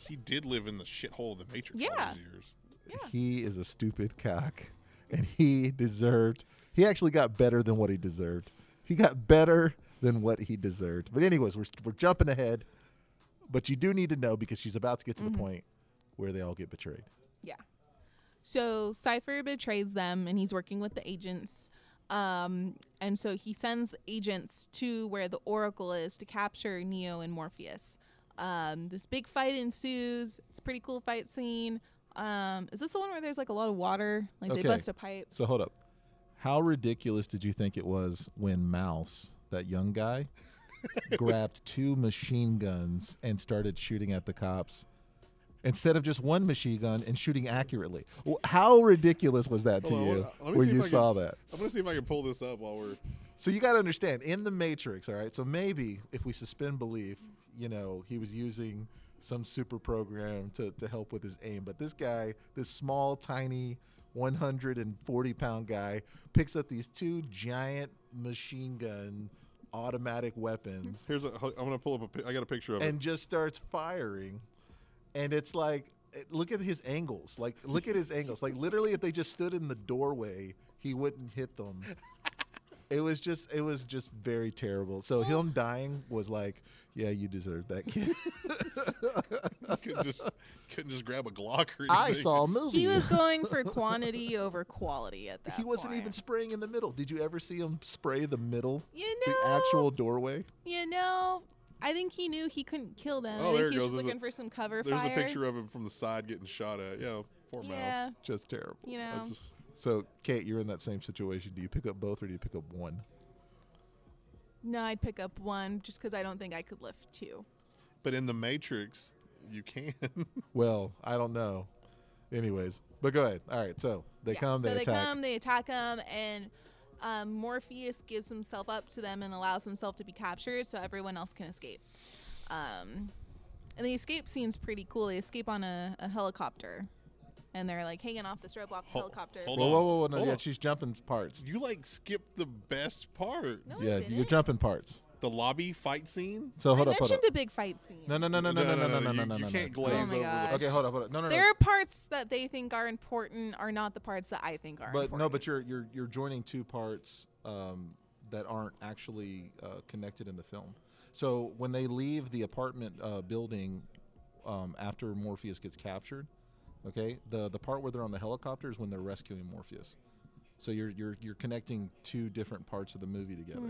S1: He did live in the shithole of the Matrix. all
S3: Yeah.
S1: these years.
S3: Yeah.
S2: He is a stupid cock, and he deserved. He actually got better than what he deserved. He got better than what he deserved. But anyways, we're we're jumping ahead. But you do need to know because she's about to get to the point where they all get betrayed.
S3: Yeah. So Cypher betrays them and he's working with the agents. Um, and so he sends the agents to where the Oracle is to capture Neo and Morpheus. Um, this big fight ensues. It's a pretty cool fight scene. Um, is this the one where there's like a lot of water? Like
S2: Okay.
S3: they bust a pipe?
S2: So hold up. How ridiculous did you think it was when Mouse, that young guy, grabbed two machine guns and started shooting at the cops instead of just one machine gun and shooting accurately. W- How ridiculous was that to
S1: Hold on,
S2: you
S1: hold on. Let me
S2: when
S1: see
S2: you
S1: if I
S2: saw
S1: can-
S2: that?
S1: I'm gonna see if I can pull this up while we're.
S2: So you got to understand in the Matrix, all right. So maybe if we suspend belief, you know, he was using some super program to, to help with his aim. But this guy, this small, tiny, 140 pound guy, picks up these two giant machine gun automatic weapons
S1: Here's a. I'm gonna pull up a. pi- I got a picture of it.
S2: and just starts firing. And it's like, eh, look at his angles. Like, look at his angles. Like, literally, if they just stood in the doorway, he wouldn't hit them. It was just, it was just very terrible. So him dying was like, yeah, you deserve that kid.
S1: couldn't just couldn't just grab a Glock or anything.
S2: I saw a movie.
S3: He was going for quantity over quality at that.
S2: He wasn't
S3: point.
S2: even spraying in the middle. Did you ever see him spray the middle,
S3: You
S2: the
S3: know,
S2: actual doorway?
S3: You know, I think he knew he couldn't kill them.
S1: Oh,
S3: I think
S1: there it
S3: he was
S1: goes.
S3: just
S1: There's a-
S3: looking for some cover
S1: There's
S3: fire.
S1: a picture of him from the side getting shot at. Yeah, poor
S3: Yeah,
S1: mouse.
S2: Just terrible.
S3: you
S1: That's
S3: know.
S1: just-
S2: So, Kate, you're in that same situation. Do you pick up both or do you pick up one?
S3: No, I'd pick up one just because I don't think I could lift two.
S1: but in the Matrix, you can.
S2: Well, I don't know. Anyways, but go ahead. All right, so they
S3: Yeah.
S2: come,
S3: so
S2: they,
S3: they
S2: attack.
S3: come, they attack him, and um, Morpheus gives himself up to them and allows himself to be captured, so everyone else can escape. Um, and the escape scene's pretty cool. They escape on a, a helicopter, and they're like hanging off this rope off the
S1: Hol-
S3: helicopter.
S1: hold
S2: Whoa,
S1: on.
S2: whoa, whoa, whoa! No,
S1: Hold
S2: yeah,
S1: on.
S2: she's jumping parts.
S1: you like skip the best part.
S3: No, I
S2: yeah,
S3: didn't.
S2: you're jumping parts.
S1: The lobby fight scene.
S2: So hold
S3: I
S2: up, hold up.
S3: mentioned a big fight scene.
S2: No, no, no, no, no, no, no, no, no, no,
S1: you-
S2: no.
S1: You
S2: no.
S1: can't
S3: Oh
S1: glaze
S3: my
S1: over.
S3: gosh.
S1: the-
S2: Okay, hold up, hold up. No, no, no.
S3: There are parts that they think are important are not the parts that I think are
S2: but
S3: important.
S2: no, but you're you're you're joining two parts um, that aren't actually uh, connected in the film. So when they leave the apartment uh, building um, after Morpheus gets captured, okay, the the part where they're on the helicopter is when they're rescuing Morpheus. So you're you're you're connecting two different parts of the movie together.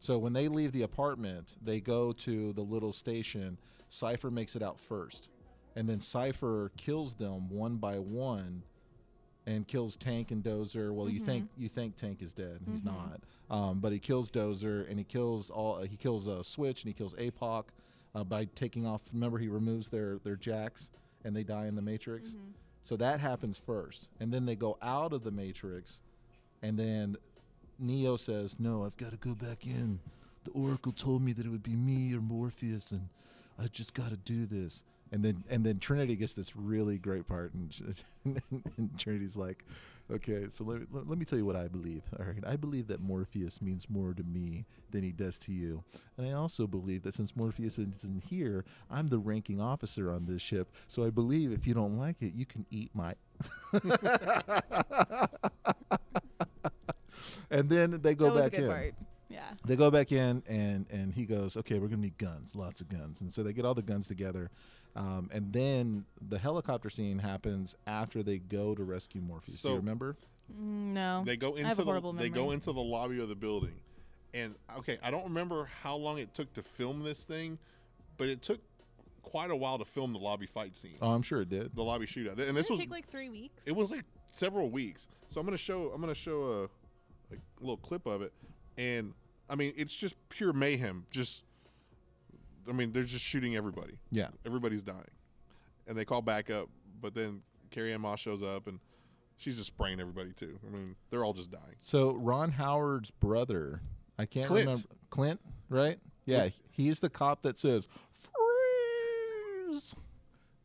S2: So when they leave the apartment, they go to the little station. Cipher makes it out first, and then Cipher kills them one by one, and kills Tank and Dozer. Well, you think you think Tank is dead, and he's not. Um, but he kills Dozer, and he kills all. he kills uh, Switch, and he kills Apoc uh, by taking off. Remember, he removes their their jacks, and they die in the Matrix. So that happens first, and then they go out of the Matrix, and then Neo says, "No, I've got to go back in. The Oracle told me that it would be me or Morpheus, and I just got to do this." And then and then Trinity gets this really great part, and, and Trinity's like, "Okay, so let me, let, let me tell you what I believe. All right, I believe that Morpheus means more to me than he does to you, and I also believe that since Morpheus isn't here, I'm the ranking officer on this ship. So I believe if you don't like it, you can eat my." and then they go
S3: that was
S2: back
S3: a good
S2: in
S3: part. Yeah.
S2: they go back in and and he goes okay we're gonna need guns lots of guns and so they get all the guns together um, and then the helicopter scene happens after they go to rescue morpheus do
S1: So-
S2: you remember
S3: Mm, No.
S1: They go
S3: I have
S1: into
S3: a
S1: the
S3: horrible
S1: they go
S3: memory.
S1: into the lobby of the building, and okay, I don't remember how long it took to film this thing, but it took quite a while to film the lobby fight scene,
S2: oh i'm sure it did
S1: the lobby shootout, and this
S3: Didn't it
S1: was
S3: take like three weeks.
S1: it was like several weeks. So I'm gonna show I'm gonna show a, a little clip of it, and I mean it's just pure mayhem. Just I mean they're just shooting everybody.
S2: yeah
S1: Everybody's dying, and they call back up, but then Carrie Ann Moss shows up and. She's just spraying everybody too. I mean, they're all just dying.
S2: so ron howard's brother i can't
S1: Clint.
S2: remember clint right yeah
S1: Was-
S2: he's the cop that says freeze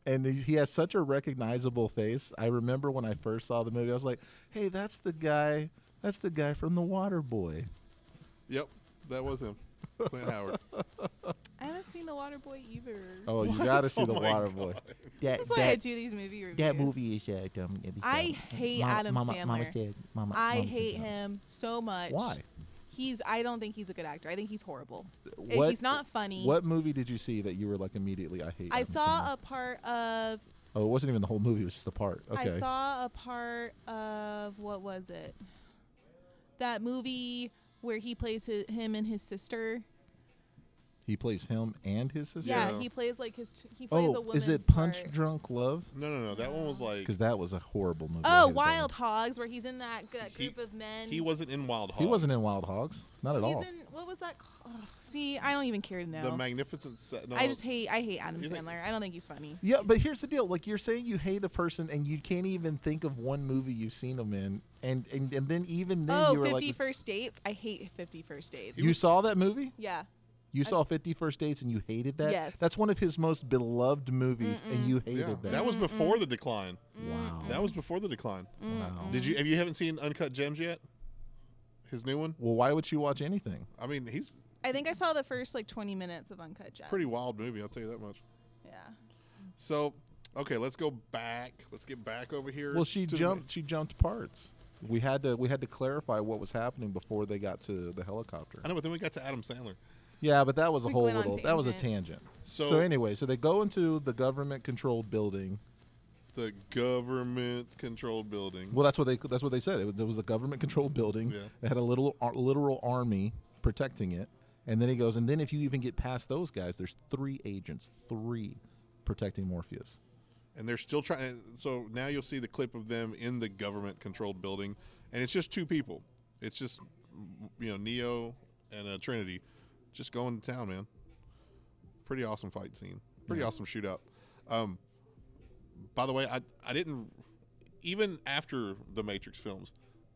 S2: and he, he has such a recognizable face i remember when i first saw the movie i was like hey that's the guy that's the guy from the water boy
S1: Yep, that was him, Clint Howard.
S3: I haven't seen The Waterboy either.
S2: Oh, you
S1: What?
S2: gotta see
S1: Oh
S2: the
S1: my
S2: Water
S1: God.
S2: Boy.
S4: that,
S3: This is why I
S4: that,
S3: do these movie reviews.
S4: that movie is uh, dumb. It was
S3: I
S4: dumb.
S3: hate
S4: mama,
S3: Adam
S4: mama, Mama
S3: Sandler.
S4: said, mama,
S3: I
S4: mama said
S3: hate
S4: dumb.
S3: him so much.
S2: Why?
S3: He's. I don't think he's a good actor. I think he's horrible. Uh,
S2: What-
S3: he's not funny.
S2: What movie did you see that you were like immediately? I hate.
S3: I
S2: Adam
S3: saw
S2: Sandler"?
S3: a part of.
S2: oh, it wasn't even the whole movie. It was just a part. Okay.
S3: I saw a part of what was it? That movie where he plays hi him and his sister.
S2: He plays him and his sister.
S3: Yeah,
S1: Yeah.
S3: he plays like his. T- he plays a
S2: Oh,
S3: woman's
S2: is it Punch
S3: part.
S2: Drunk Love?
S1: No, no, no. That one was like
S2: Because that was a horrible movie. I
S3: Oh,
S2: hated that one.
S3: Wild Hogs, where he's in that, g- that
S1: He-
S3: group of men.
S1: he wasn't in Wild Hog.
S2: He wasn't in Wild Hogs, not at
S3: He's
S2: all.
S3: in what was that? Called? Ugh, see, I don't even care to know.
S1: the Magnificent Set. No,
S3: I just hate. I hate Adam
S1: You think-
S3: Sandler. I don't think he's funny.
S2: Yeah, but here's the deal. Like you're saying you hate a person and you can't even think of one movie you've seen them in. And and, and then even then
S3: oh,
S2: you were
S3: 50
S2: like
S3: First Dates. I hate 50 First Dates.
S2: You saw that movie?
S3: yeah.
S2: You saw Fifty First Dates and you hated that?
S3: Yes.
S2: That's one of his most beloved movies and you hated
S1: yeah,
S2: that.
S1: that. was before the decline.
S2: wow.
S1: That was before the decline.
S2: wow.
S1: Did you? Have you haven't seen Uncut Gems yet? His new one.
S2: Well, why would you watch anything?
S1: I mean, he's
S3: I think I saw the first like 20 minutes of Uncut Gems.
S1: pretty wild movie. I'll tell you that much.
S3: Yeah.
S1: So, okay, let's go back. Let's get back over here.
S2: Well, she
S1: to the-
S2: jumped she jumped parts. We had to we had to clarify what was happening before they got to the helicopter.
S1: I know, but then we got to Adam Sandler.
S2: Yeah, but that was a
S3: We
S2: whole
S3: went on
S2: little that was a
S3: tangent.
S2: tangent.
S1: So-
S2: anyway, so they go into the government controlled building.
S1: The government-controlled building.
S2: Well, that's what they that's what they said. It was, there was a government controlled building.
S1: Yeah.
S2: It had a little ar- literal army protecting it. And then he goes, and then if you even get past those guys, there's three agents, three protecting Morpheus.
S1: and they're still trying. So now you'll see the clip of them in the government-controlled building, and it's just two people. It's just you know Neo and uh, Trinity, just going to town, man. Pretty awesome fight scene. Pretty awesome shootout. Um, by the way, I I didn't even after the Matrix films.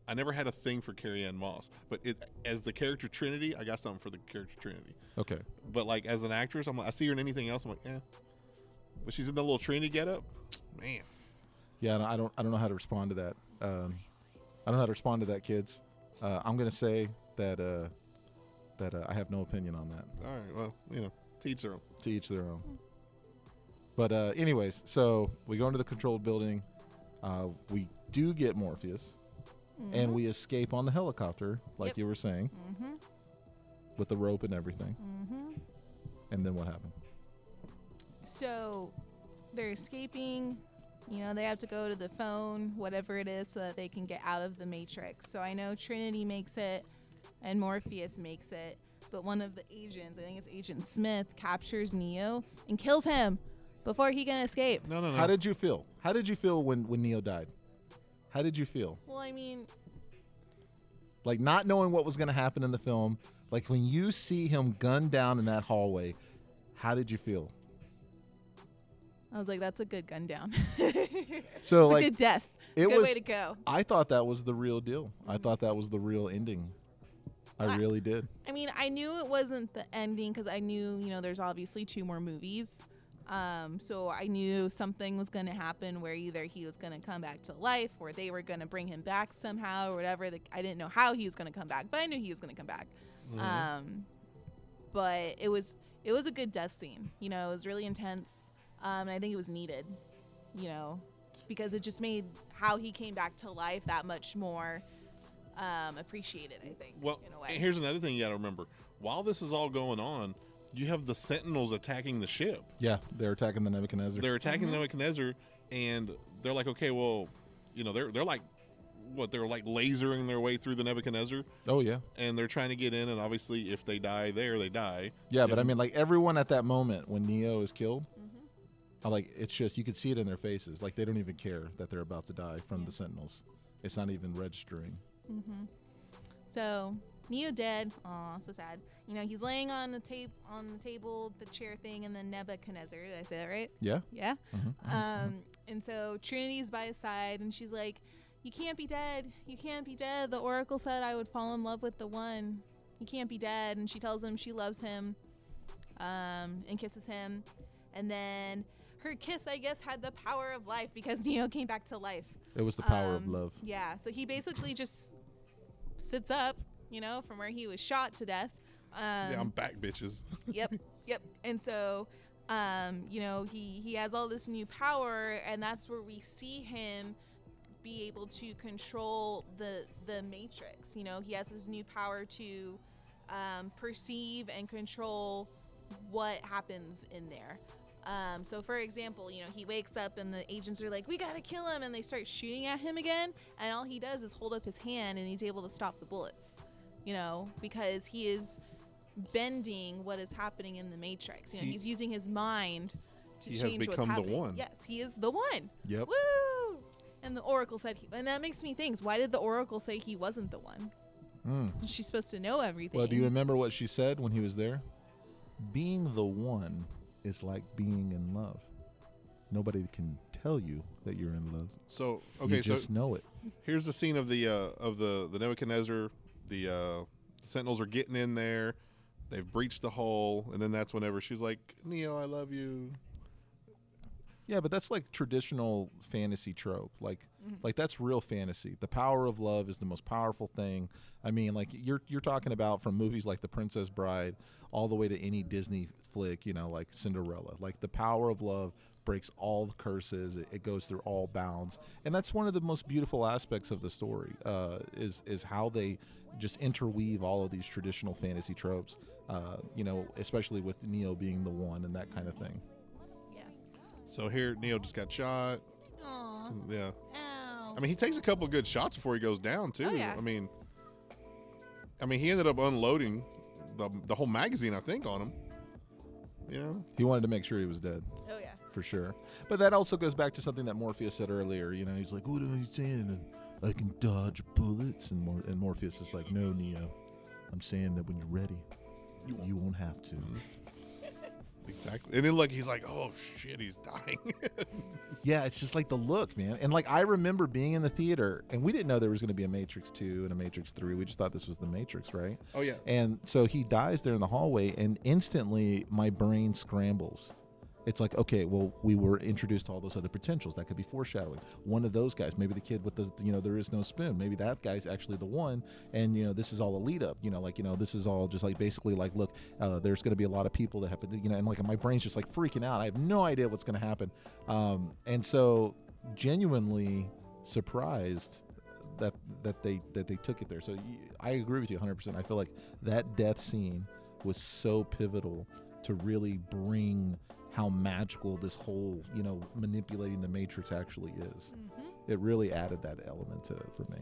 S1: I never had a thing for Carrie Ann Moss, but it, as the character Trinity, I got something for the character Trinity.
S2: Okay.
S1: But like as an actress, I'm like I see her in anything else, I'm like, eh. But she's in the little Trinity getup, man.
S2: Yeah, and I don't I don't know how to respond to that. Um, I don't know how to respond to that, kids. Uh, I'm gonna say that uh, that uh, I have no opinion on that.
S1: All right, well, you know, teach her.
S2: to each their own. But uh, anyways, so we go into the controlled building. Uh, we do get Morpheus, and we escape on the helicopter, like
S3: Yep.
S2: you were saying, with the rope and everything. And then what happened?
S3: So they're escaping. You know, they have to go to the phone, whatever it is, so that they can get out of the Matrix. So I know Trinity makes it and Morpheus makes it, but one of the agents, I think it's Agent Smith, captures Neo and kills him before he can escape.
S1: No, no, no.
S2: How did you feel? How did you feel when when Neo died? How did you feel?
S3: Well, I mean,
S2: Like not knowing what was going to happen in the film, like when you see him gunned down in that hallway, how did you feel?
S3: I was like, that's a good gun down.
S2: So
S3: it's
S2: like
S3: a good death.
S2: it
S3: good
S2: was
S3: way to go.
S2: I thought that was the real deal. I thought that was the real ending. I,
S3: I-
S2: really did.
S3: I mean, I knew it wasn't the ending because I knew, you know, there's obviously two more movies. Um, so I knew something was going to happen where either he was going to come back to life or they were going to bring him back somehow or whatever. Like, I didn't know how he was going to come back, but I knew he was going to come back. Um, but it was it was a good death scene. You know, it was really intense, um, and I think it was needed. You know, because it just made how he came back to life that much more um, appreciated. I think.
S1: Well,
S3: in a
S1: and
S3: way.
S1: here's another thing you got to remember. While this is all going on, you have the Sentinels attacking the ship.
S2: Yeah, they're attacking the Nebuchadnezzar.
S1: They're
S3: Mm-hmm.
S1: attacking the Nebuchadnezzar, and they're like, okay, well, you know, they're they're like, what? They're like lasering their way through the Nebuchadnezzar,
S2: oh yeah,
S1: and they're trying to get in. And obviously, if they die there, they die.
S2: yeah. But I mean, like everyone at that moment when Neo is killed,
S3: Mm-hmm.
S2: I like it's just you could see it in their faces. Like they don't even care that they're about to die from the Sentinels. It's not even registering.
S3: So Neo dead. Aw, so sad. You know, he's laying on the tape on the table, the chair thing, and then Nebuchadnezzar. Did I say that right?
S2: Yeah.
S3: Yeah. Um, and so Trinity's by his side, and she's like, "You can't be dead. You can't be dead." The Oracle said I would fall in love with the one. You can't be dead. And she tells him she loves him, um, and kisses him, and then her kiss, I guess, had the power of life because Neo came back to life.
S2: It was the power of
S3: Um,
S2: love.
S3: Yeah. So he basically just sits up, you know, from where he was shot to death. Um,
S1: yeah, I'm back, bitches.
S3: yep. Yep. And so, um, you know, he he has all this new power, and that's where we see him be able to control the the matrix. You know, he has this new power to um, perceive and control what happens in there. Um, so, for example, you know, he wakes up and the agents are like, "We gotta kill him," and they start shooting at him again. And all he does is hold up his hand, and he's able to stop the bullets. You know, because he is bending what is happening in the Matrix. You know,
S1: He-
S3: he's using his mind to
S1: He has
S3: change what's
S1: become the
S3: happening.
S1: one.
S3: Yes, he is the one.
S2: Yep.
S3: Woo! And the Oracle said, he, and that makes me think. Why did the Oracle say he wasn't the one?
S2: Mm.
S3: She's supposed to know everything.
S2: Well, do you remember what she said when he was there? Being the one is like being in love. Nobody can tell you that you're in love.
S1: So okay,
S2: you
S1: so
S2: just know it.
S1: here's the scene of the uh, of the the Nebuchadnezzar. The uh, Sentinels are getting in there. They've breached the hole, and then that's whenever she's like, "Neo, I love you."
S2: Yeah, but that's like traditional fantasy trope. Like like that's real fantasy. The power of love is the most powerful thing. I mean, like you're you're talking about from movies like The Princess Bride all the way to any Disney flick, you know, like Cinderella. Like the power of love breaks all curses. It, it goes through all bounds. And that's one of the most beautiful aspects of the story uh, is is how they just interweave all of these traditional fantasy tropes. Uh, you know, especially with Neo being the one and that kind of thing.
S3: Yeah.
S1: So here, Neo just got shot.
S3: Aw.
S1: Yeah,
S3: Ow.
S1: I mean, he takes a couple good shots before he goes down too.
S3: Oh, yeah.
S1: I mean, I mean, he ended up unloading the the whole magazine, I think, on him. You know,
S2: He wanted to make sure he was dead.
S3: oh yeah.
S2: for sure. But that also goes back to something that Morpheus said earlier. You know, he's like, "What are you saying? I can dodge bullets." And, Mor- and Morpheus is like, "No, Neo, I'm saying that when you're ready, you won't, Mm-hmm. have to."
S1: exactly. And then like he's like, "Oh shit, he's dying."
S2: Yeah, it's just like the look, man. And like I remember being in the theater, and we didn't know there was going to be a Matrix Two and a Matrix Three. We just thought this was the Matrix, right?
S1: oh yeah,
S2: And so he dies there in the hallway, and instantly my brain scrambles. It's like, okay, well, we were introduced to all those other potentials. That could be foreshadowing. One of those guys, maybe the kid with the, you know, there is no spoon. Maybe that guy's actually the one. And, you know, this is all a lead up. You know, like, you know, this is all just like basically like, look, uh, there's going to be a lot of people that happen, you know, and like my brain's just like freaking out. I have no idea what's going to happen. Um, and so genuinely surprised that that they that they took it there. So you, I agree with you 100%. I feel like that death scene was so pivotal to really bring how magical this whole, you know, manipulating the matrix actually is.
S3: Mm-hmm.
S2: It really added that element to it for me.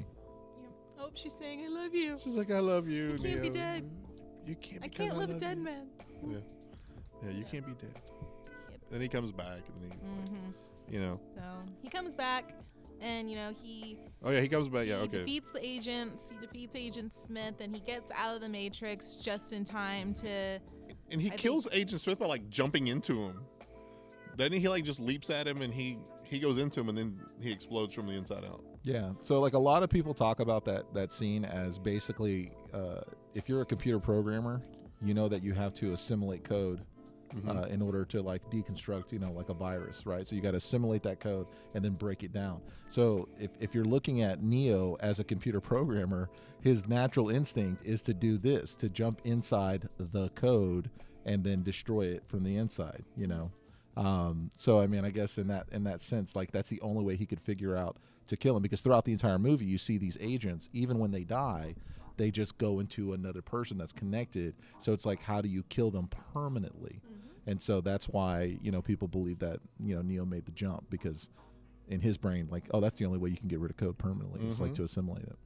S3: Yeah. Oh, she's saying, "I love you.
S1: she's like, "I love you."
S3: You can't be
S1: Neo.
S3: dead.
S1: You can't.
S3: I
S1: because
S3: can't live a
S1: love
S3: dead
S1: you."
S3: man."
S1: Yeah. Yeah, you can't be dead.
S3: Yep.
S1: Then he comes back, and then
S3: Mm-hmm.
S1: he, you know.
S3: So he comes back, and you know he
S1: Oh yeah, he comes back. Yeah,
S3: he
S1: okay.
S3: defeats the agents. He defeats Agent Smith, and he gets out of the Matrix just in time to.
S1: And he
S3: I think-
S1: kills Agent Smith by like jumping into him. Doesn't he like just leaps at him and he he goes into him and then he explodes from the inside out.
S2: Yeah. So like a lot of people talk about that that scene as basically uh, if you're a computer programmer, you know that you have to assimilate code uh, in order to like deconstruct, you know, like a virus, right? So you got to assimilate that code and then break it down. So if, if you're looking at Neo as a computer programmer, his natural instinct is to do this, to jump inside the code and then destroy it from the inside, you know. Um, so I mean, I guess in that in that sense, like that's the only way he could figure out to kill him because throughout the entire movie, you see these agents, even when they die, they just go into another person that's connected. So it's like, how do you kill them permanently?
S3: Mm-hmm.
S2: And so that's why you know people believe that you know Neo made the jump because in his brain, like, oh, that's the only way you can get rid of code permanently. It's like to assimilate it.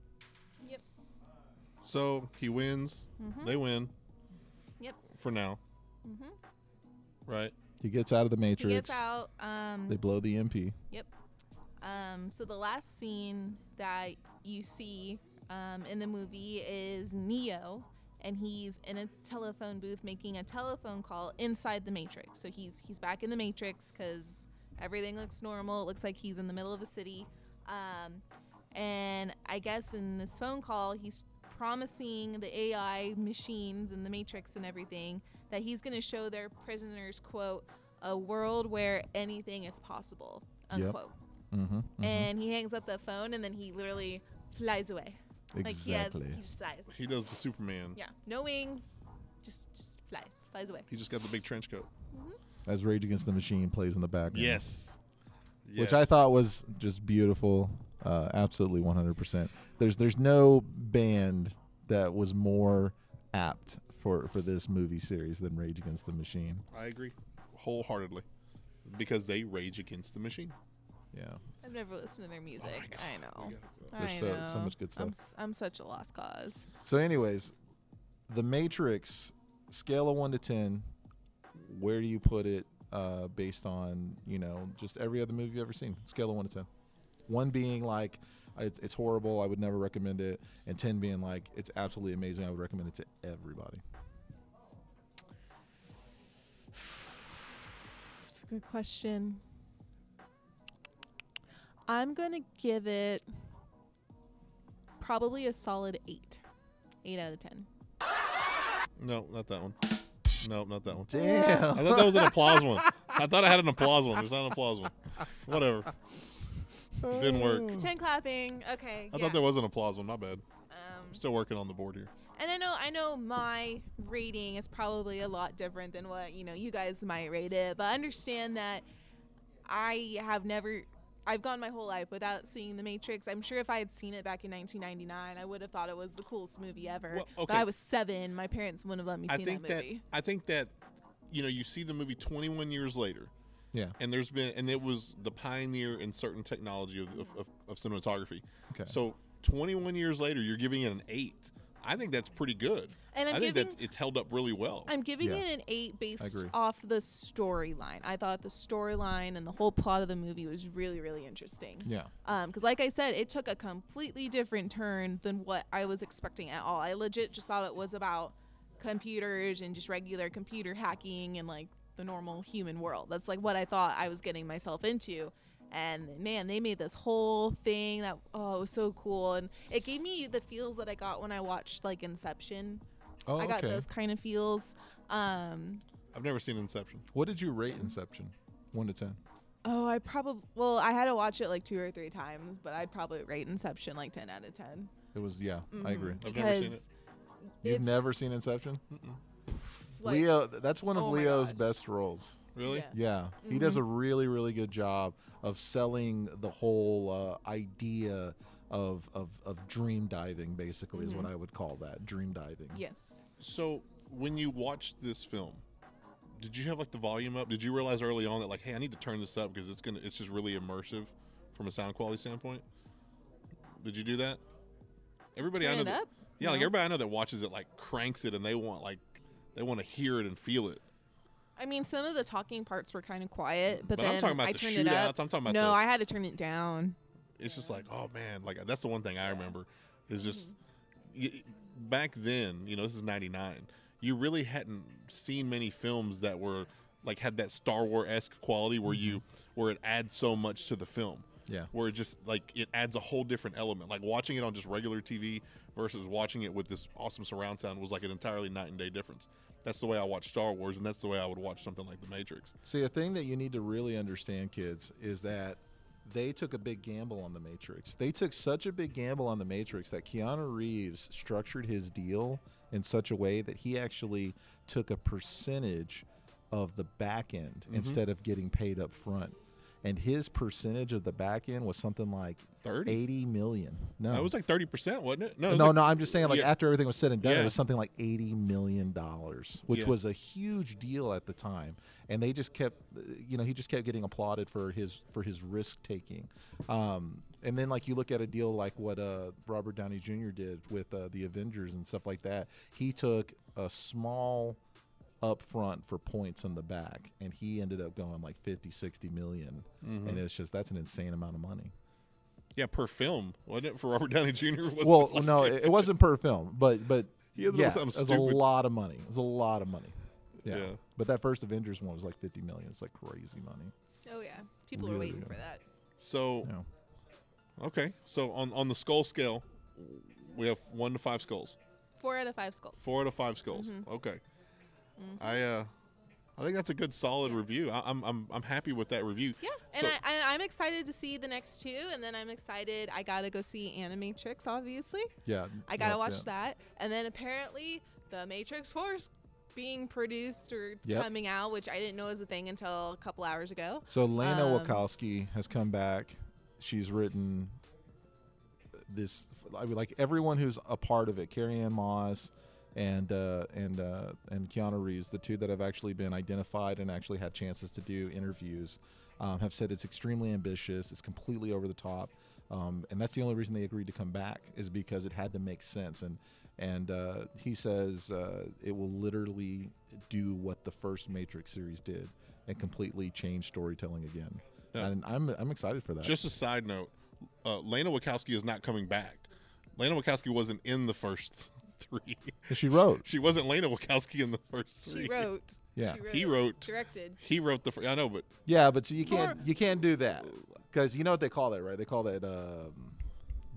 S3: Yep.
S1: So he wins.
S3: Mm-hmm.
S1: They win.
S3: Yep.
S1: For now.
S3: Mm-hmm.
S1: Right.
S2: He gets out of the
S3: He
S2: matrix.
S3: gets out. Um.
S2: They blow the MP.
S3: Yep. Um, so the last scene that you see um, in the movie is Neo, and he's in a telephone booth making a telephone call inside the Matrix. So he's he's back in the Matrix because everything looks normal. It looks like he's in the middle of a city, um, and I guess in this phone call he's promising the AI machines and the Matrix and everything that he's going to show their prisoners quote a world where anything is possible
S2: Yep.
S3: unquote
S2: Mm-hmm.
S3: and he hangs up the phone and then he literally flies away. Like he has,
S2: Exactly.
S3: he just flies.
S1: He does the Superman.
S3: Yeah, no wings, just just flies, flies away.
S1: He just got the big trench coat.
S2: As Rage Against the Machine plays in the background.
S1: Yes.
S2: which
S1: Yes.
S2: I thought was just beautiful. Uh, absolutely 100%. There's there's no band that was more apt for, for this movie series than Rage Against the Machine.
S1: I agree wholeheartedly because they rage against the machine.
S2: Yeah.
S3: I've never
S2: Oh
S3: listened to their music.
S1: God,
S3: I know.
S1: We gotta go.
S3: I
S2: There's so- so
S3: know.
S2: much good
S3: I'm,
S2: stuff.
S3: s- I'm such a lost cause.
S2: So anyways, The Matrix scale of one to ten, where do you put it uh, based on you know just every other movie you've ever seen? Scale of one to ten. One being like it's, it's horrible, I would never recommend it, and ten being like it's absolutely amazing, I would recommend it to everybody.
S3: It's a good question. I'm gonna give it probably a solid eight, eight out of ten.
S1: No, not that one. No, not that one.
S4: Damn.
S1: I thought that was an applause one. I thought I had an applause one. There's not an applause one. Whatever. Didn't work.
S3: Ten clapping. Okay.
S1: I
S3: yeah.
S1: thought there was an applause one. My bad.
S3: Um,
S1: I'm still working on the board here.
S3: and I know I know my rating is probably a lot different than what you know you guys might rate it, but I understand that I have never. I've gone my whole life without seeing The Matrix. I'm sure if I had seen it back in 1999, I would have thought it was the coolest movie ever.
S1: Well,
S3: But
S1: okay.
S3: I was seven. My parents wouldn't have let me see
S1: I think
S3: that
S1: that
S3: movie.
S1: I think that you know you see the movie 21 years later,
S2: Yeah.
S1: and there's been and it was the pioneer in certain technology of, of, of, of cinematography.
S2: Okay.
S1: So 21 years later, you're giving it an eight. I think that's pretty good.
S3: And I'm
S1: I think
S3: giving-
S1: that it's held up really well.
S3: I'm giving
S2: Yeah.
S3: it an eight based
S2: agree.
S3: off the storyline. I thought the storyline and the whole plot of the movie was really, really interesting.
S2: Yeah.
S3: because Um, like I said, it took a completely different turn than what I was expecting at all. I legit just thought it was about computers and just regular computer hacking and like the normal human world. That's like what I thought I was getting myself into. And man, they made this whole thing that oh, it was so cool, and it gave me the feels that I got when I watched like Inception.
S2: Oh,
S3: I got
S2: okay.
S3: those kind of feels. Um,
S1: I've never seen Inception.
S2: What did you rate Inception? One to ten.
S3: oh, I probably well, I had to watch it like two or three times, but I'd probably rate Inception like ten out of ten.
S2: It was yeah. I agree.
S1: I've never seen it.
S3: because
S2: You've
S3: Mm-hmm. it's
S2: never seen Inception?
S3: like-
S2: Leo, that's one of
S3: oh my
S2: Leo's
S3: gosh. Mm-hmm.
S2: best roles.
S1: Really?
S3: Yeah.
S2: Yeah, he does a really, really good job of selling the whole uh, idea of, of of dream diving. Basically, is what
S3: Mm-hmm.
S2: I would call that dream diving.
S3: Yes.
S1: So when you watched this film, did you have like the volume up? Did you realize early on that like, hey, I need to turn this up because it's gonna it's just really immersive from a sound quality standpoint? Did you do that? Everybody I
S3: Turn
S1: know
S3: it
S1: that,
S3: up?
S1: Yeah, like
S3: No.
S1: everybody I know that watches it like cranks it and they want like they want to hear it and feel it.
S3: I mean, some of the talking parts were kind of quiet, but,
S1: But
S3: then
S1: I'm talking about
S3: I
S1: the
S3: turned it up.
S1: shootouts. I'm talking about
S3: no,
S1: the-
S3: I had to turn it down.
S1: It's just like, oh man, like that's the one thing I remember is just
S2: Mm-hmm.
S1: y- back then, you know, this is 99. You really hadn't seen many films that were like had that Star Wars esque quality where you where it adds so much to the film.
S2: Mm-hmm. Yeah.
S1: Where it just like it adds a whole different element. Like watching it on just regular TV versus watching it with this awesome surround sound was like an entirely night and day difference. That's the way I watch Star Wars, and that's the way I would watch something like The Matrix.
S2: See, a thing that you need to really understand, kids, is that they took a big gamble on the Matrix. They took such a big gamble on the Matrix that Keanu Reeves structured his deal in such a way that he actually took a percentage of the back end
S1: Mm-hmm.
S2: instead of getting paid up front. And his percentage of the back end was something like
S1: 30?
S2: 80 million. No.
S1: That was like thirty percent, wasn't it? No, it was
S2: Oh. no,
S1: like-
S2: no, I'm just saying, like
S1: yeah.
S2: after everything was said and done,
S1: Yeah.
S2: it was something like eighty million dollars, which
S1: Yeah.
S2: was a huge deal at the time. And they just kept, uh, you know, he just kept getting applauded for his for his risk taking. Um, and then, like you look at a deal like what uh, Robert Downey Jr. did with uh, the Avengers and stuff like that. He took a small up front for points in the back and he ended up going like 50 60 million.
S1: Mm-hmm.
S2: and it's just that's an insane amount of money
S1: Yeah, per film, wasn't it for Robert Downey Jr.? Wasn't
S2: well,
S1: it like-
S2: no, it, it wasn't per film, but but
S1: He
S2: yeah,
S1: had
S2: it
S1: to do
S2: was
S1: something
S2: a
S1: stupid.
S2: lot of money. It was a lot of money. Yeah.
S1: Yeah.
S2: But that first Avengers one was like fifty million. It's like crazy money.
S3: Oh yeah, people
S2: Really
S3: were waiting
S2: good.
S3: for that.
S1: So
S2: You know.
S1: okay, so on on the skull scale, we have one to five skulls,
S3: Four out of five skulls.
S1: four out of five skulls.
S3: Mm-hmm.
S1: Okay, I uh, I think that's a good solid review. I, I'm I'm I'm happy with that review.
S3: Yeah, and
S1: So,
S3: I, I, I'm excited to see the next two, and then I'm excited. I gotta go see Animatrix, obviously.
S2: Yeah.
S3: I gotta
S2: that's
S3: watch
S2: it.
S3: that, and then apparently the Matrix Four is being produced or
S2: Yep.
S3: coming out, which I didn't know was a thing until a couple hours ago.
S2: So Lena
S3: Um,
S2: Wachowski has come back. She's written this. I mean, like everyone who's a part of it, Carrie Ann Moss and uh, and uh, and Keanu Reeves, the two that have actually been identified and actually had chances to do interviews, um, have said it's extremely ambitious. It's completely over the top. Um, and that's the only reason they agreed to come back is because it had to make sense. And and uh, he says uh, it will literally do what the first Matrix series did and completely change storytelling again.
S1: Yeah.
S2: And I'm I'm excited for that.
S1: Just a side note, uh, Lana Wachowski is not coming back. Lana Wachowski wasn't in the first three.
S2: she wrote.
S1: she wasn't Lana Wachowski in the first three.
S3: She wrote.
S2: Yeah.
S3: She
S1: He wrote.
S3: Directed.
S1: He wrote the. Fir- I know, but
S2: Yeah, but see, you can't
S3: Or-
S2: you can't do that because you know what they call that, right? They call that um,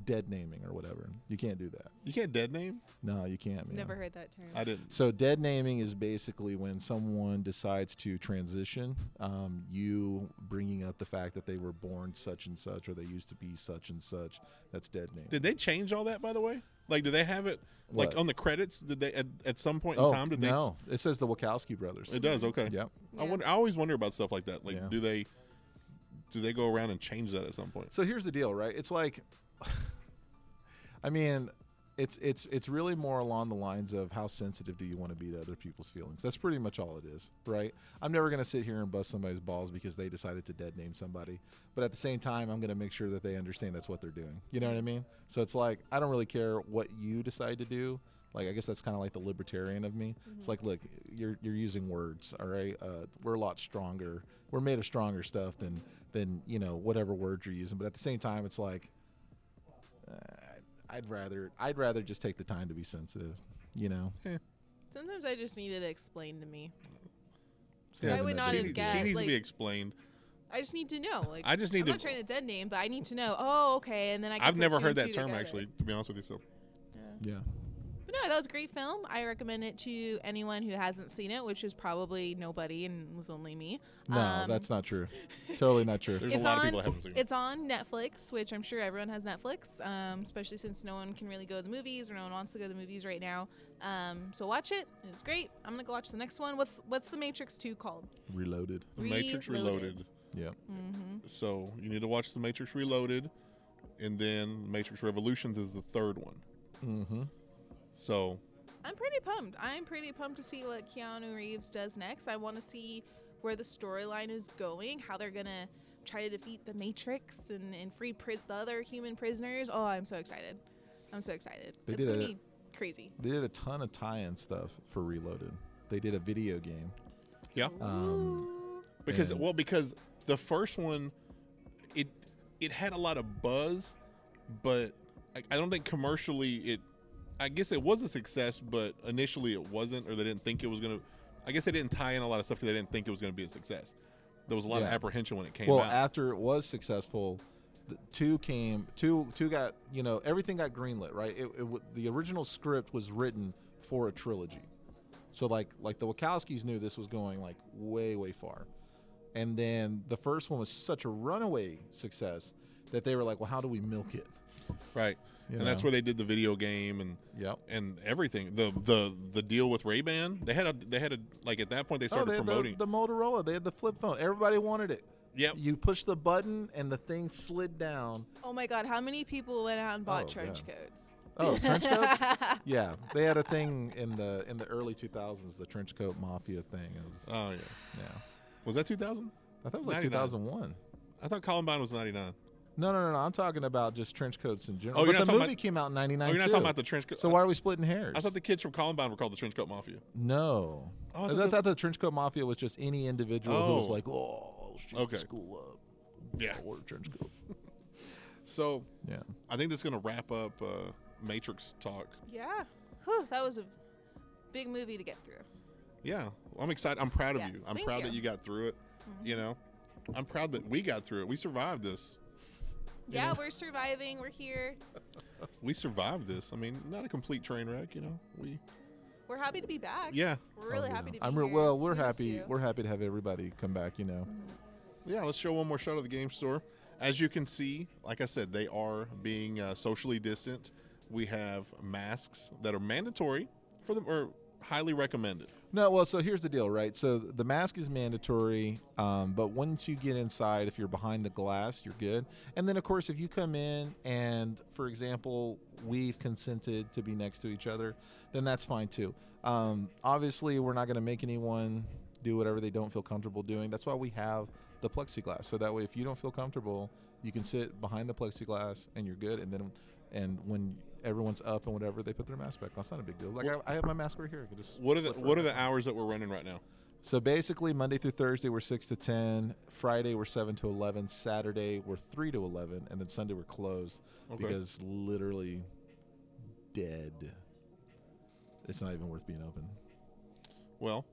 S2: dead naming or whatever. You can't do that.
S1: you can't dead name.
S2: No, you can't. man.
S3: Never heard that term.
S1: I didn't.
S2: So dead naming is basically when someone decides to transition. Um, you bringing up the fact that they were born such and such, or they used to be such and such. That's dead naming.
S1: Did they change all that by the way? Like, do they have it like
S2: What?
S1: on the credits? Did they at, at some point in
S2: oh
S1: time? Did they?
S2: no, it says the Wachowski brothers.
S1: It does. Okay.
S2: Yep.
S1: I
S3: Yeah.
S1: wonder. I always wonder about stuff like that. Like,
S2: Yeah.
S1: do they? Do they go around and change that at some point?
S2: So here's the deal, right? It's like, I mean, it's it's it's really more along the lines of how sensitive do you want to be to other people's feelings. That's pretty much all it is, right? I'm never gonna sit here and bust somebody's balls because they decided to dead name somebody, but at the same time, I'm gonna make sure that they understand that's what they're doing. You know what I mean? So it's like I don't really care what you decide to do. Like I guess that's kind of like the libertarian of me. It's like, look, you're you're using words, all right? Uh, we're a lot stronger. We're made of stronger stuff than than you know whatever words you're using. But at the same time, it's like I'd rather I'd rather just take the time to be sensitive, you know.
S3: Sometimes I just need it explained to me.
S2: Yeah,
S3: I would not
S1: she,
S3: have
S1: needs-
S3: guessed.
S1: she needs
S3: like,
S1: to be explained.
S3: I just need to know. Like
S1: I just need
S3: I'm
S1: to-
S3: not trying to dead name, but I need to know. Oh, okay. And then I. Can
S1: I've
S3: put
S1: never
S3: two
S1: heard
S3: and
S1: that
S3: two
S1: term
S3: together.
S1: actually. To be honest with you, so
S2: Yeah.
S3: But no, that was a great film. I recommend it to anyone who hasn't seen it, which is probably nobody and was only me.
S2: No,
S3: Um,
S2: that's not true. Totally not true.
S1: There's- a
S3: it's
S1: lot of
S3: on-
S1: people that haven't seen it.
S3: It's on Netflix, which I'm sure everyone has Netflix, um, especially since no one can really go to the movies or no one wants to go to the movies right now. Um, so watch it. It's great. I'm gonna go watch the next one. What's What's the Matrix Two called?
S2: Reloaded.
S1: The Matrix
S3: Reloaded.
S1: Reloaded.
S2: Yeah.
S1: So you need to watch The Matrix Reloaded, and then Matrix Revolutions is the third one.
S2: Mm-hmm.
S1: So
S3: I'm pretty pumped. I'm pretty pumped to see what Keanu Reeves does next. I want to see where the storyline is going, how they're gonna try to defeat the Matrix and and free pri- the other human prisoners. Oh, I'm so excited! I'm so excited.
S2: They
S3: it's
S2: did
S3: gonna
S2: a-
S3: be crazy.
S2: They did a ton of tie-in stuff for Reloaded. They did a video game.
S1: yeah,
S2: Um,
S1: because
S2: and-
S1: well, because the first one, it it had a lot of buzz, but I, I don't think commercially it. I guess it was a success, but initially it wasn't, or they didn't think it was gonna. I guess they didn't tie in a lot of stuff because they didn't think it was gonna be a success. There was a lot of
S2: Yeah.
S1: apprehension when it came
S2: Well,
S1: out.
S2: after it was successful, th- two came. Two two got you know everything got greenlit, right? It, it w- the original script was written for a trilogy, so like like the Wachowskis knew this was going like way way far, and then the first one was such a runaway success that they were like, well, how do we milk it?
S1: right,
S2: You
S1: and that's
S2: know.
S1: where they did the video game and.
S2: Yep.
S1: and everything. The the the deal with Ray Ban, they had a they had a like at that point they
S2: Oh,
S1: started
S2: they had the,
S1: promoting.
S2: the Motorola. They had the flip phone. Everybody wanted it.
S1: Yep.
S2: You push the button and the thing slid down.
S3: Oh my God! How many people went out and bought
S2: Oh,
S3: trench
S2: yeah.
S3: coats?
S2: Oh, trench coats. yeah, they had a thing in the in the early 2000s, the trench coat mafia thing. It was,
S1: oh yeah,
S2: yeah,
S1: was that two thousand?
S2: I thought it was like
S1: 99.
S2: 2001.
S1: I thought Columbine was ninety nine.
S2: No, no, no, no. I'm talking about just trench coats in general.
S1: Oh, you're
S2: but the
S1: not talking
S2: movie
S1: about-
S2: came out in '99.
S1: Oh, you're not
S2: too.
S1: talking about the trench coat.
S2: So why are we splitting hairs?
S1: I thought the kids from Columbine were called the trench coat mafia.
S2: no.
S1: Oh, I
S2: I
S1: thought
S2: thought,
S1: that's-
S2: the trench coat mafia was just any individual who was
S1: Oh.
S2: like, "Oh, shoot
S1: Okay.
S2: the school up,
S1: Yeah.
S2: I'll wear a trench coat."
S1: Oh, So
S2: Yeah,
S1: I think that's gonna wrap up uh, Matrix talk.
S3: yeah. Whew, that was a big movie to get through.
S1: Yeah, well, I'm excited. I'm proud of you.
S3: Yes,
S1: I'm
S3: thank
S1: proud that
S3: you. Mm-hmm.
S1: you got through it. You know, I'm proud that we got through it. We survived this.
S3: Yeah, we're surviving. We're here.
S1: We survived this. I mean, not a complete train wreck. You know, we.
S3: We're happy to be back.
S1: Yeah,
S3: We're really
S2: Oh, yeah.
S3: happy to be
S2: I'm
S3: here.
S2: re- well. We're
S3: We missed
S2: happy.
S3: you.
S2: We're happy to have everybody come back. You know.
S1: Yeah, let's show one more shot of the game store. As you can see, like I said, they are being uh, socially distant. We have masks that are mandatory for them or highly recommended.
S2: No, well, so here's the deal, right? So the mask is mandatory, um, but once you get inside, if you're behind the glass, you're good. And then, of course, if you come in and, for example, we've consented to be next to each other, then that's fine too. Um, obviously, we're not going to make anyone do whatever they don't feel comfortable doing. That's why we have the plexiglass, so that way, if you don't feel comfortable, you can sit behind the plexiglass and you're good. And then, and when everyone's up and whatever, they put their mask back on. It's not a big deal. Like
S1: Well-
S2: I, I have my mask right here. I can just
S1: What are the
S2: flip
S1: What
S2: it.
S1: are the hours that we're running right now?
S2: So basically, Monday through Thursday we're six to ten. Friday we're seven to eleven. Saturday we're three to eleven, and then Sunday we're closed
S1: Okay.
S2: because literally dead. It's not even worth being open.
S1: Well,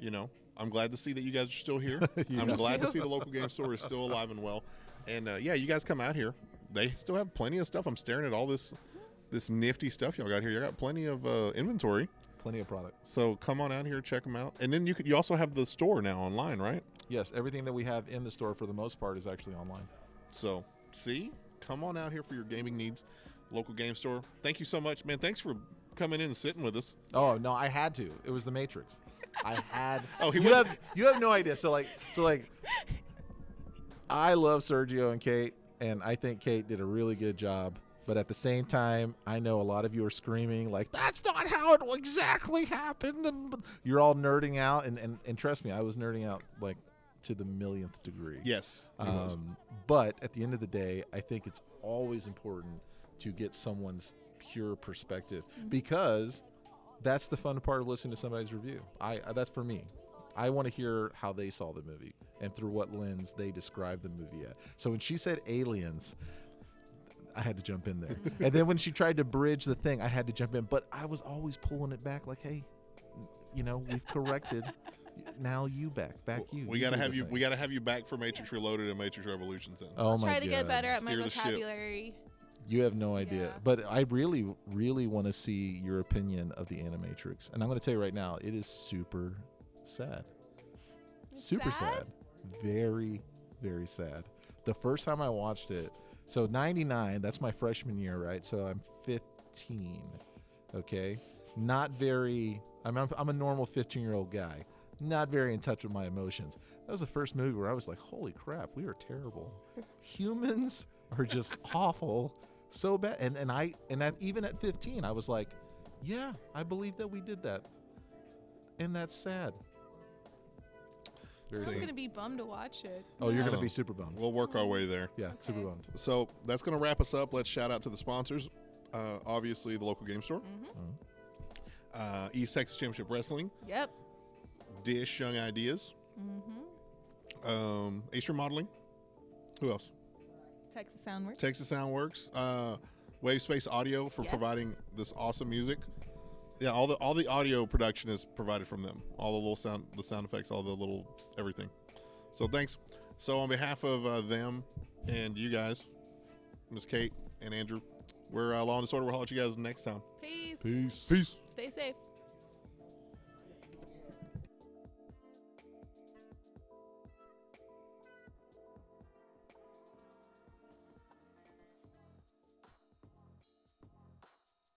S1: you know, I'm glad to see that you guys are still here.
S2: Yeah.
S1: I'm glad to
S3: too.
S1: see the local game store is still alive and well. And uh, yeah, you guys come out here. They still have plenty of stuff. I'm staring at all this this nifty stuff y'all got here. You got plenty of uh, inventory.
S2: Plenty of product.
S1: So come on out here, check them out. And then you could you also have the store now online, right?
S2: Yes, everything that we have in the store for the most part is actually online.
S1: So see, come on out here for your gaming needs. Local game store. Thank you so much, man. Thanks for coming in and sitting with us.
S2: Oh no, I had to. It was the Matrix. I had.
S1: Oh, he
S2: you
S1: went-
S2: have you have no idea. So like so like, I love Sergio and Kate, and I think Kate did a really good job. But at the same time, I know a lot of you are screaming like, "That's not how it exactly happened," and you're all nerding out. And and, and trust me, I was nerding out like to the millionth degree.
S1: Yes. he was.
S2: Um, but at the end of the day, I think it's always important to get someone's pure perspective
S3: Mm-hmm.
S2: because that's the fun part of listening to somebody's review. I uh, that's for me. I want to hear how they saw the movie and through what lens they described the movie at. So when she said aliens, I had to jump in there. and then when she tried to bridge the thing, I had to jump in. But I was always pulling it back, like, hey, you know, we've corrected. Now you back, back you.
S1: we gotta
S2: do the
S1: have you.
S2: thing.
S1: We gotta have you back for Matrix Reloaded and Matrix Revolutions. Then.
S2: Oh
S3: I'll
S2: my
S3: try
S2: god!
S3: to get better at my
S1: Steer the ship.
S3: vocabulary.
S2: You have no idea.
S3: Yeah.
S2: But I really, really want to see your opinion of the Animatrix. And I'm going to tell you right now, it is super sad. super sad?
S3: sad?
S2: Very, very sad. The first time I watched it, so 99, that's my freshman year, right? So I'm 15. Okay. Not very, I mean, I'm, I'm a normal 15 year old guy, not very in touch with my emotions. That was the first movie where I was like, holy crap, we are terrible. Humans are just awful. So bad. And, and I, and that even at 15, I was like, yeah, I believe that we did that. And that's sad.
S1: Very
S3: I'm
S1: sad.
S3: gonna be bummed to watch it.
S2: Oh, you're
S1: No.
S2: going to be super bummed.
S1: We'll work our way there.
S2: Yeah, super
S3: Okay.
S2: bummed.
S1: So that's going to wrap us up. Let's shout out to the sponsors. Uh, obviously, the local game store,
S2: Oh.
S1: uh, East Texas Championship Wrestling,
S3: Yep.
S1: Dish Young Ideas,
S3: Mm-hmm.
S1: um, Ace Remodeling. Who else?
S3: Texas Soundworks.
S1: Texas Soundworks, uh, Wavespace Audio for
S3: Yes.
S1: providing this awesome music. Yeah, all the all the audio production is provided from them. All the little sound, the sound effects, all the little everything. So thanks. So on behalf of uh, them and you guys, Miss Kate and Andrew, we're uh, Law and Disorder. We'll holler at you guys next time.
S3: Peace.
S2: Peace.
S1: Peace.
S3: Stay safe.